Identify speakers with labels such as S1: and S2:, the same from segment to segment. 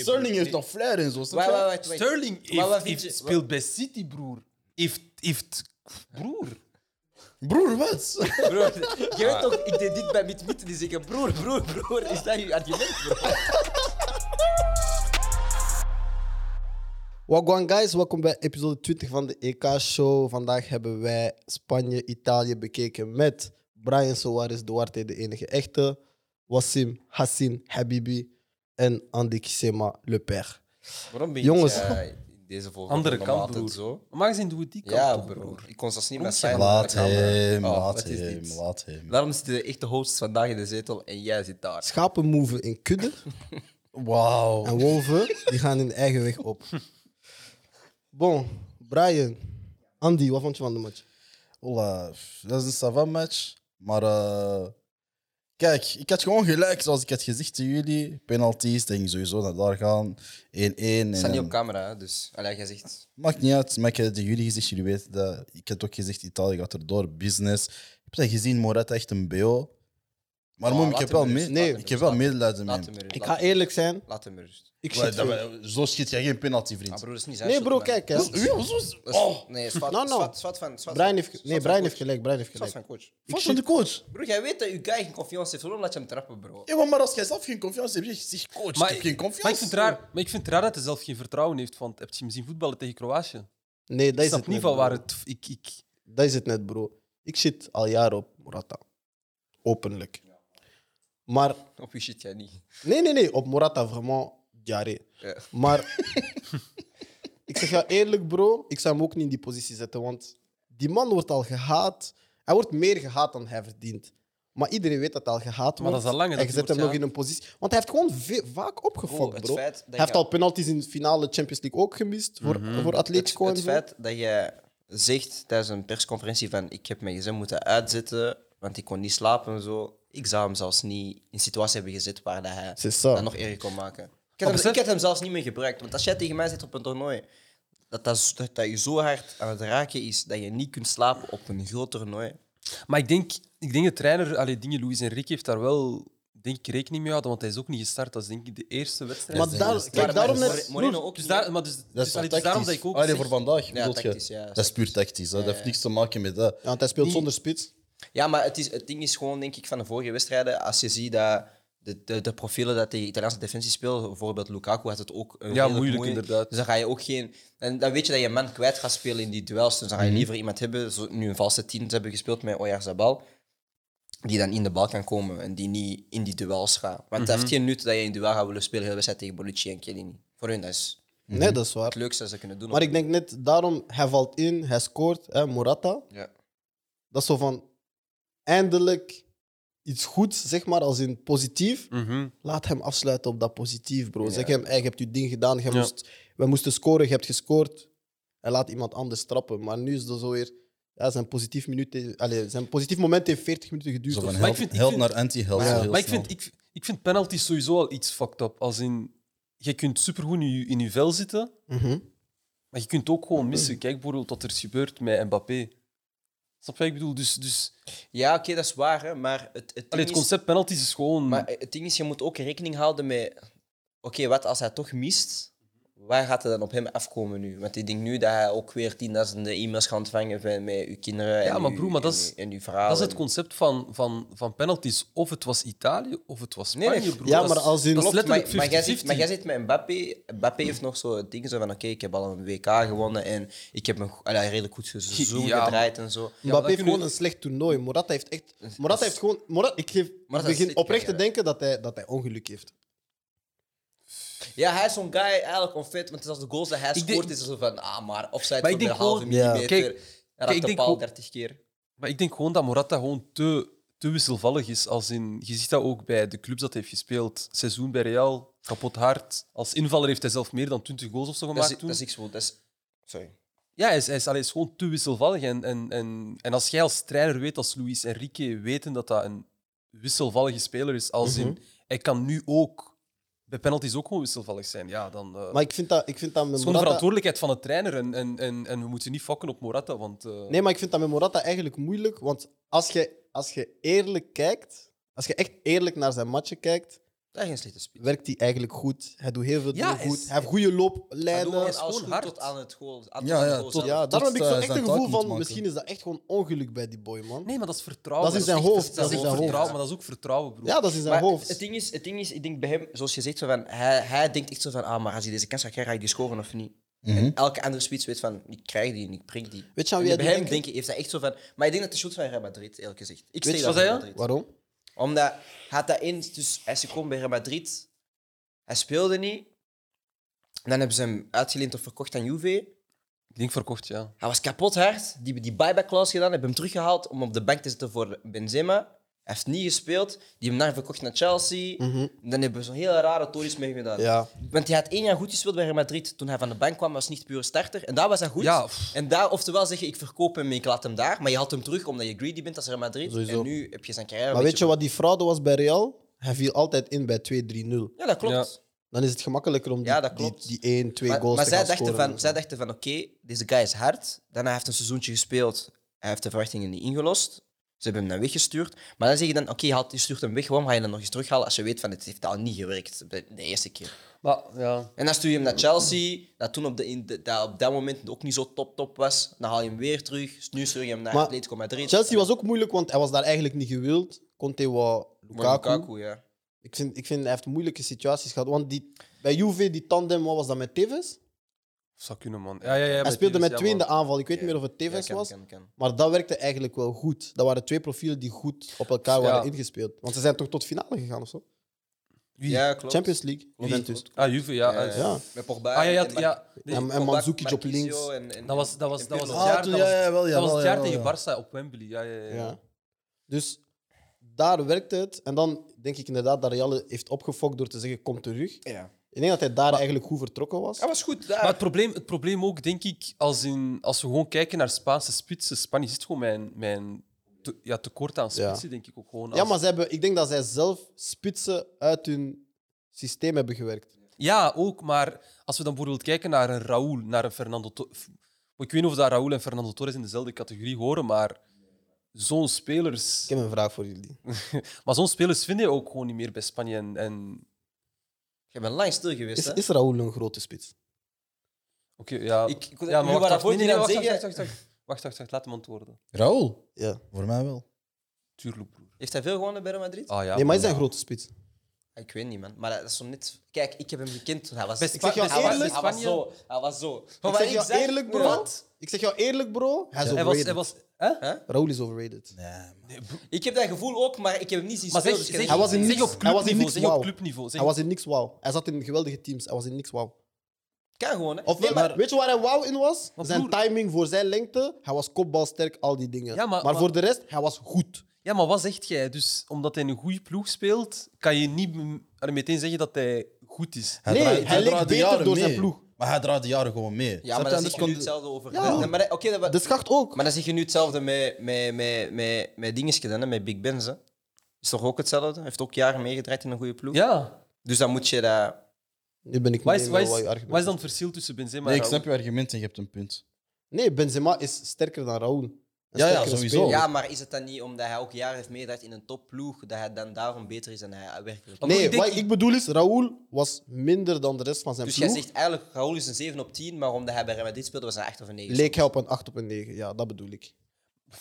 S1: Sterling heeft nog flair en zo. snap
S2: Wacht,
S1: je?
S2: wacht, wacht, wacht.
S3: Sterling heeft,
S2: Maar wat vind
S3: heeft-
S2: je-
S3: speelt bij City, broer. Heeft, heeft broer.
S1: Broer, wat?
S2: Broer, je weet toch, ik deed dit bij Mit Mit. Die zeggen, broer, broer, broer. Is dat je argument, broer?
S4: Wagwan guys, welkom bij episode 20 van de EK-show. Vandaag hebben wij Spanje, Italië bekeken met Brian Soares Duarte, de enige echte, Wassim Hassin Habibi en Andy Kisema Le Père.
S5: Waarom ben
S4: Jongens.
S5: ik eh, in deze volgorde
S3: Andere
S5: normaal
S3: kant,
S5: altijd
S3: broer.
S5: zo?
S3: Maar gezien doen we die kant
S5: Ja,
S3: op,
S5: broer.
S3: broer.
S5: Ik kon zelfs niet
S3: Kom,
S5: meer
S3: zeg.
S5: zijn
S6: Laat
S5: aan de camera.
S6: hem,
S5: Oh,
S6: laat
S5: wat is
S6: hem,
S5: dit?
S6: laat hem.
S5: Daarom zitten de echte hosts vandaag in de zetel en jij zit daar.
S4: Schapen moeven in kudde
S6: Wauw.
S4: en wolven die gaan hun eigen weg op. Bon, Brian, Andy, wat vond je van de match?
S6: Ola, dat is een savant match. Maar eh, kijk, ik had gewoon gelijk, zoals ik had gezegd tegen jullie. Penalties, denk ik sowieso naar daar gaan. 1-1. en
S5: We staan niet op
S6: dan-
S5: camera, hè, dus allee, jij zegt...
S6: Maakt niet uit, maar ik had het tegen jullie gezegd, jullie weten dat. Ik had ook gezegd, Italië gaat erdoor, business. Ik heb dat gezien, Morata echt een BO. Maar
S5: Ah,
S6: moem, ik
S5: laat
S6: heb
S5: hem
S6: wel,
S5: rust,
S6: mee,
S5: laat
S6: nee,
S5: hem
S6: ik
S5: rust,
S6: heb wel
S5: laat hem-
S6: medelijden met
S5: Laat hem
S6: hem.
S5: rust.
S4: Ik
S5: laat
S4: ga
S5: hem-
S4: eerlijk zijn,
S5: Laat hem rust.
S4: ik
S6: Wel,
S4: shit
S6: dat-
S4: veel.
S6: Zo schiet jij geen penalty,
S5: Maar
S6: vriend.
S5: broer, is niet zijn
S4: Nee
S5: schuld,
S4: bro,
S5: man.
S4: kijk. hè.
S6: Hoe- hoe- hoe-
S5: Dat is-
S6: Oh,
S5: Nee, zwart
S4: No, no.
S5: zwart- zwart van... zwart
S4: Brian
S5: van-
S4: heeft,
S5: zwart
S4: nee,
S5: van
S4: Brian
S5: coach.
S4: heeft gelijk, Brian heeft
S5: Zwart
S4: gelijk.
S5: van coach.
S6: Wat van de coach?
S5: Broer, jij weet dat je guy geen confiance heeft. Waarom laat je hem trappen, bro?
S6: Ja, maar als jij zelf geen confiance hebt, zeg je, coach, ik heb geen confiance.
S3: Maar ik, vind het raar, maar ik vind het raar dat hij zelf geen vertrouwen heeft. Want heb je hem zien voetballen tegen Kroatië?
S4: Nee, dat
S3: ik
S4: is
S3: snap
S4: het
S3: niet
S4: niet
S3: van waar het... Ik, ik,
S4: Dat is het net, bro. Ik zit al jaren op Morata. Openlijk. Maar,
S5: Op je shit jij niet.
S4: nee, nee, nee, op Morata, vraiment, jaren.
S5: Ja.
S4: Maar, ik zeg jou eerlijk, bro, ik zou hem ook niet in die positie zetten. Want die man wordt al gehaat. Hij wordt meer gehaat dan hij verdient. Maar iedereen weet dat hij al gehaat wordt.
S3: Maar dat is al lang, hè,
S4: En je
S3: dat
S4: zet
S3: hij
S4: hem nog
S3: wordt
S4: in
S3: Oh,
S4: een positie. Want hij heeft gewoon ve- vaak
S5: Bro,
S4: opgefokt,
S5: het
S4: bro. Hij
S5: feit dat je-
S4: heeft al penalties in de finale Champions League ook gemist. Voor,
S3: Mhm.
S4: voor Atletico
S5: het,
S4: en
S5: het
S4: zo.
S5: feit dat jij zegt tijdens een persconferentie van ik heb mijn gezin moeten uitzetten, want ik kon niet slapen en zo. Ik zou hem zelfs niet in een situatie hebben gezet waar dat hij
S4: C'est ça.
S5: dat nog erger kon maken. Ik had, hem,
S3: besef-
S5: ik had hem zelfs niet meer gebruikt. Want als jij tegen mij zit op een toernooi, dat, dat, dat, dat je zo hard aan het raken is dat je niet kunt slapen op een groot toernooi.
S3: Maar ik denk, ik denk de trainer, allee, dingen, Louis en Rick, heeft daar wel denk ik, rekening mee gehouden, want hij is ook niet gestart. Dat is denk ik de eerste wedstrijd.
S4: Maar daar, kijk,
S5: Maar- maar
S4: daarom
S5: More-
S4: net...
S5: Moreno ook
S3: dus,
S5: niet.
S3: daar, maar dus,
S6: Dat
S3: dus,
S6: is
S3: allee,
S6: tactisch.
S3: dus daarom dat ik ook
S6: Ah, nee,
S3: zeg-
S6: voor vandaag. bedoel je?
S5: tactisch, ja,
S6: dat is puur tactisch. hè. Dat heeft niks te maken met dat.
S4: Ja, want hij speelt zonder spits.
S5: Ja, maar het, is, het ding is gewoon, denk ik, van de vorige wedstrijden. Als je ziet dat de, de, de profielen dat tegen Italiaanse defensie speelt, bijvoorbeeld Lukaku, had het ook. een
S3: Ja,
S5: redelijk
S3: moeilijk, inderdaad.
S5: Dus dan ga je ook geen. En dan weet je dat je een man kwijt gaat spelen in die duels. Dus dan
S3: Mhm.
S5: ga je liever iemand hebben, zo, nu een valse tien hebben gespeeld met Oyarzabal, die dan in de bal kan komen en die niet in die duels gaat. Want
S3: Mhm.
S5: het heeft geen nut dat je in duel gaat willen spelen, heel de wedstrijd tegen Bonucci en Chiellini. Voor hun, dat is
S4: Nee, dat is waar.
S5: het leukste dat ze kunnen doen.
S4: Maar ik denk net daarom, hij valt in, hij scoort, hè, Morata.
S5: Ja.
S4: Dat is zo van eindelijk iets goeds, zeg maar, als in positief.
S3: Mhm.
S4: Laat hem afsluiten op dat positief, bro.
S5: Ja.
S4: Zeg hem, hey, je hebt je ding gedaan, je
S3: Ja.
S4: moest, we moesten scoren, je hebt gescoord. En laat iemand anders trappen. Maar nu is dat zo weer. Ja, zijn, positief minuut, heeft- allez, zijn positief moment heeft 40 minuten geduurd.
S6: Zo
S4: of
S6: van
S4: zo.
S3: Maar ik
S6: help,
S3: vind- ik
S6: help
S3: vind-
S6: naar anti-help.
S4: Maar
S6: zo
S4: ja.
S6: heel
S3: Maar ik
S6: snel.
S3: vind, ik, ik vind penalties sowieso al iets fucked up. Als in, je kunt supergoed in je, in je vel zitten,
S4: Mhm.
S3: maar je kunt ook gewoon
S6: Mm-hmm.
S3: missen. Kijk bijvoorbeeld wat er is gebeurd met Mbappé. Snap je wat ik bedoel? Dus, dus
S5: Ja, oké, dat is waar, hè, maar het, het, ding
S3: allee, het
S5: is-
S3: concept penalties is gewoon...
S5: Maar het ding is, je moet ook rekening houden met... Oké, wat als hij toch mist? Waar gaat het dan op hem afkomen nu? Want ik denk nu dat hij ook weer tienduizenden e-mails gaat ontvangen van, met uw kinderen en,
S3: Ja, maar
S5: uw-
S3: broer, maar dat
S5: en
S3: is-
S5: uw- en uw verhaal.
S3: dat is het
S5: en-
S3: concept van, van, van penalties. Of het was Italië, of het was Spanje,
S5: Nee, nee.
S3: broer.
S4: Ja,
S3: Dat is-
S4: maar als in-
S3: Dat is
S5: Klopt, maar,
S3: letterlijk 50-50.
S5: maar, jij zit, maar jij zit met Mbappé. Mbappé heeft nog zo'n ding zo van: oké, ik heb al een WK gewonnen en ik heb een go- allee, redelijk goed seizoen
S3: Ja, maar-
S5: gedraaid en zo.
S3: Ja, maar
S4: Mbappé
S3: dat
S4: heeft
S3: kunnen-
S4: gewoon een slecht toernooi. Morata heeft echt. Morata heeft gewoon. Morata, ik geef, ik
S5: Morata
S4: begin
S5: zit
S4: oprecht te
S5: krijgen.
S4: denken dat hij, dat hij ongeluk heeft.
S5: Ja, hij is zo'n guy eigenlijk onfit, want als de goals dat hij
S3: denk-
S5: scoort, is het zo van: ah, maar offside voor
S3: Maar ik
S5: de
S3: denk
S5: halve
S3: gewoon- Ja.
S5: millimeter.
S3: Kijk,
S5: hij
S3: kijk, ik
S5: raakt de
S3: denk
S5: paal
S3: gewoon-
S5: 30 keer.
S3: Maar ik denk gewoon dat Morata gewoon te, te wisselvallig is. Als in, je ziet dat ook bij de clubs dat hij heeft gespeeld. Seizoen bij Real, kapot hard. Als invaller heeft hij zelf meer dan 20 goals of zo
S5: Dat
S3: gemaakt
S5: is,
S3: toen.
S5: dat is X-Wood. Dat is, sorry.
S3: Ja, hij is, hij is, allee, hij is gewoon te wisselvallig. En, en, en, en als jij als trainer weet, als Luis Enrique weten dat dat een wisselvallige speler is, als
S4: Mhm.
S3: in, hij kan nu ook bij penalties ook gewoon wisselvallig zijn. Ja, dan... eh,
S4: Maar ik vind dat, ik vind dat
S3: het
S4: met
S3: is gewoon de
S4: Morata.
S3: verantwoordelijkheid van de trainer en, en, en, en we moeten niet fokken op Morata, want... eh,
S4: Nee, maar ik vind dat met Morata eigenlijk moeilijk. Want als je, als je eerlijk kijkt, als je echt eerlijk naar zijn matchen kijkt,
S5: Dat is geen slechte spits.
S4: werkt hij eigenlijk goed. Hij doet heel veel
S3: Ja,
S4: dingen
S3: hij is-
S4: goed. Hij heeft goede
S5: Hij doet
S4: looplijnen.
S5: alles
S3: gewoon
S5: goed
S3: hard.
S5: tot aan het goal. aan
S6: Ja,
S5: het
S6: ja,
S5: goal
S6: tot-
S5: zelf.
S4: Ja, daarom heb ik
S6: eh,
S4: zo'n
S6: zijn
S4: echt een
S6: taak
S4: gevoel
S6: niet
S4: van,
S6: maken.
S4: misschien is dat echt gewoon ongeluk bij die boy, man.
S3: Nee, maar dat is vertrouwen.
S4: Dat is in zijn
S3: echt-
S4: hoofd,
S3: Dat is
S5: dat is
S3: ook
S5: zijn
S3: vertrouwen,
S4: hoofd.
S3: maar dat is ook vertrouwen, broer.
S4: Ja, dat is in zijn
S5: Maar
S4: hoofd.
S5: het ding, is, het ding is, ik denk bij hem, zoals je zegt, zo van, hij, hij denkt echt zo van, ah, maar als hij deze kans gaat krijgen, ga je die scoren of niet? En elke andere spits weet van, ik krijg die en ik prik die.
S4: Weet je aan
S5: En
S4: wie
S5: bij
S4: hij
S5: hem
S4: doet
S5: denk
S4: denken?
S5: ik, heeft hij echt zo van, maar ik denk dat de schuld van Real Madrid, eerlijk gezegd. Ik steek
S3: je-
S5: dat
S3: wat
S5: Real
S3: zei je?
S5: Madrid.
S4: Waarom?
S5: Omdat hij had dat in, dus hij ze kwam bij Real Madrid, hij speelde niet. En dan hebben ze hem uitgeleend of verkocht aan Juve.
S3: Ik denk verkocht, ja.
S5: Hij was kapot hard. Die, die buyback clause gedaan. Hebben hem teruggehaald om op de bank te zitten voor Benzema. Hij heeft niet gespeeld. Die hebben hem dan verkocht naar Chelsea. Dan hebben ze een hele rare tories mee gedaan.
S4: Mhm. Ja.
S5: Want hij had één jaar goed gespeeld bij Real Madrid. Toen hij van de bank kwam, was hij niet pure starter. En daar was hij goed.
S3: Ja, pff.
S5: En daar, oftewel zeg je, ik verkoop hem, ik laat hem daar. Maar je haalt hem terug omdat je greedy bent als Real Madrid.
S4: Sowieso.
S5: En nu heb je zijn carrière
S4: Maar
S5: een
S4: weet je
S5: beetje-
S4: wat die fraude was bij Real? Hij viel altijd in bij 2-3-0.
S5: Ja, dat klopt.
S3: Ja.
S4: Dan is het gemakkelijker om die,
S5: Ja, dat
S4: die,
S5: klopt.
S4: die 1, 2
S5: Maar,
S4: goals
S5: maar
S4: te
S5: zij,
S4: gaan
S5: dachten
S4: scoren.
S5: van, zij dachten van, oké, deze guy is hard. Daarna heeft hij een seizoentje gespeeld. Hij heeft de verwachtingen niet ingelost. Ze hebben hem dan weggestuurd. Maar dan zeg je dan, oké, je haalt- je stuurt hem weg. Waarom ga je hem nog eens terughalen als je weet van, het heeft al niet gewerkt bij de eerste keer.
S3: Maar ja,
S5: En dan stuur je hem naar Chelsea, dat toen op, de, in de- dat, op dat moment ook niet zo top top was. Dan haal je hem weer terug. Dus nu stuur je hem naar
S4: Maar
S5: Atletico Madrid.
S4: Chelsea was ook moeilijk, want hij was daar eigenlijk niet gewild. Conte wou
S5: Maar
S4: Lukaku.
S5: Lukaku, ja.
S4: Ik, vind, ik vind hij heeft moeilijke situaties gehad. Want die, bij Juve, die tandem, wat was dat met Tevez?
S3: zou kunnen, man. Ja, ja, ja,
S4: hij
S3: bij
S4: speelde
S3: Tevez,
S4: met
S3: ja,
S4: twee in de
S3: man.
S4: aanval. Ik weet niet meer of het
S5: Ja,
S4: Tevez
S5: kan,
S4: was.
S5: kan, kan.
S4: Maar dat werkte eigenlijk wel goed. Dat waren twee profielen die goed op elkaar
S3: Ja.
S4: waren ingespeeld. Want ze zijn toch tot finale gegaan of zo?
S5: Ja, klopt.
S4: Champions League, Juventus.
S3: Ah, Juve, ja.
S5: Ja, ja.
S3: ah,
S4: Ja.
S5: Met Pogba.
S3: Ah, ja, ja,
S5: en-
S3: ja.
S4: En, en
S5: Pogba,
S4: Mandzukic op
S5: Marquinhos
S4: links.
S5: en- en-
S3: Dat was, dat was,
S5: en
S3: dat was het
S5: Pirlo.
S3: jaar,
S6: toen-
S3: dat was,
S6: Ah, ja, ja, wel,
S3: dat was
S6: jawel,
S3: het jaar
S6: jawel,
S3: tegen
S6: ja.
S3: Barça op Wembley. Ja, ja, ja.
S4: Ja. Dus daar werkte het. En dan denk ik inderdaad dat Real heeft opgefokt door te zeggen: kom terug.
S5: Ja.
S4: Ik denk dat hij daar eigenlijk goed vertrokken was.
S5: Dat was goed. daar.
S3: Maar het probleem, het probleem ook, denk ik, als, in, als we gewoon kijken naar Spaanse spitsen. Spanje zit gewoon mijn, mijn te- ja, tekort aan spitsen, denk ik ook gewoon.
S4: Ja,
S3: Als-
S4: maar ze hebben, ik denk dat zij zelf spitsen uit hun systeem hebben gewerkt.
S3: Ja, ook, maar als we dan bijvoorbeeld kijken naar een Raúl, naar een Fernando Torres... Ik weet niet of dat Raúl en Fernando Torres in dezelfde categorie horen, maar zo'n spelers...
S4: Ik heb een vraag voor jullie.
S3: Maar zo'n spelers vind je ook gewoon niet meer bij Spanje. En, en...
S5: Je bent lang stil geweest,
S4: Is,
S5: hè?
S4: is Raoul een grote spits?
S3: Oké, ja...
S5: Ik- ik-
S3: ja,
S5: nu waar dat
S3: Nee, nee, nee,
S5: voor
S3: wacht,
S5: die
S3: wacht,
S5: aan zeggen-
S3: wacht, wacht, wacht. Wacht, wacht, wacht, laat hem antwoorden.
S6: Raoul?
S4: Ja.
S6: Voor mij wel.
S3: Tuurlijk, broer.
S5: Heeft hij veel gewonnen bij Real Madrid? Ah,
S3: Ah, ja,
S4: Nee, maar is hij een
S3: broer.
S4: grote spits?
S5: Ik weet niet, man. Maar dat is zo net... Kijk, ik heb hem gekend toen hij was...
S3: Best-
S5: Ik
S3: zeg jou
S5: hij, was
S3: eerlijk,
S5: hij was
S3: Spanje-
S5: zo. Hij was zo. Maar
S4: Ik
S5: wat
S4: zeg jou
S5: zei-
S4: eerlijk, bro. Ik zeg jou eerlijk, bro. Hij is
S3: Hij was...
S4: overrated.
S3: Hij was hè?
S4: Raoul is overrated.
S5: Ik heb dat gevoel ook, maar ik heb hem niet zien
S3: Maar zeg,
S5: spelen.
S3: zeg,
S5: dus ik heb
S4: Hij was in
S5: geen
S3: zeg
S4: niks-
S3: op
S4: hij was in niks
S3: clubniveau, zeg op
S4: wauw.
S3: clubniveau. Zeg
S4: Hij was in niks wauw. Hij zat in geweldige teams. Hij was in niks wauw.
S5: idee. kan gewoon, hè.
S4: Of
S5: Nee,
S4: wel, weet je waar hij wauw in was?
S3: Maar
S4: zijn
S3: broer-
S4: timing voor zijn lengte. Hij was kopbalsterk, al die dingen.
S3: Ja, maar- maar-
S4: voor de rest, hij was goed.
S3: Ja, maar wat zegt jij? Dus omdat hij een goede ploeg speelt, kan je niet m- allee, meteen zeggen dat hij goed is.
S4: Nee,
S6: draait-
S4: hij leek
S6: draait de
S4: beter
S6: jaren
S4: door zijn
S6: mee.
S4: ploeg.
S6: Maar hij draait de jaren gewoon mee.
S5: Ja, maar
S6: Snap
S5: dan zeg
S6: je?
S5: je
S6: Anders
S5: nu
S6: kon-
S5: hetzelfde over...
S4: dus Ja. Dus-
S5: Nee, maar, dat- oké, dat wa-
S4: De schacht ook.
S5: maar dan zeg je nu hetzelfde met, met, met, met, met dingetjes dan, hè, met Big Benz. Hè. Is toch ook hetzelfde? Hij heeft ook jaren meegedraaid in een goede ploeg.
S3: Ja.
S5: Dus dan moet je dat...
S4: Nu ben ik
S3: Wat
S4: mee
S3: is,
S4: met
S3: wat, is,
S4: wat je
S3: wat is
S4: argument
S3: dan het verschil tussen Benzema
S6: Nee,
S3: en
S6: ik
S3: Raúl?
S6: snap je argument en je hebt een punt.
S4: Nee, Benzema is sterker dan Raúl. Een
S6: Ja, ja,
S4: sterkere
S6: sowieso.
S4: speler.
S5: Ja, maar is het dan niet omdat hij ook jaren heeft meegedraaid in een topploeg, dat hij dan daarom beter is dan hij werkelijk is?
S3: Maar
S4: Nee,
S3: ik denk-
S4: wat ik bedoel is, Raúl was minder dan de rest van zijn
S5: Dus jij
S4: ploeg.
S5: zegt eigenlijk, Raoul is een 7 op 10, maar omdat hij bij Real Madrid speelde was hij 8 of een 9.
S4: Leek hij op een 8 op een 9. Ja, dat bedoel ik.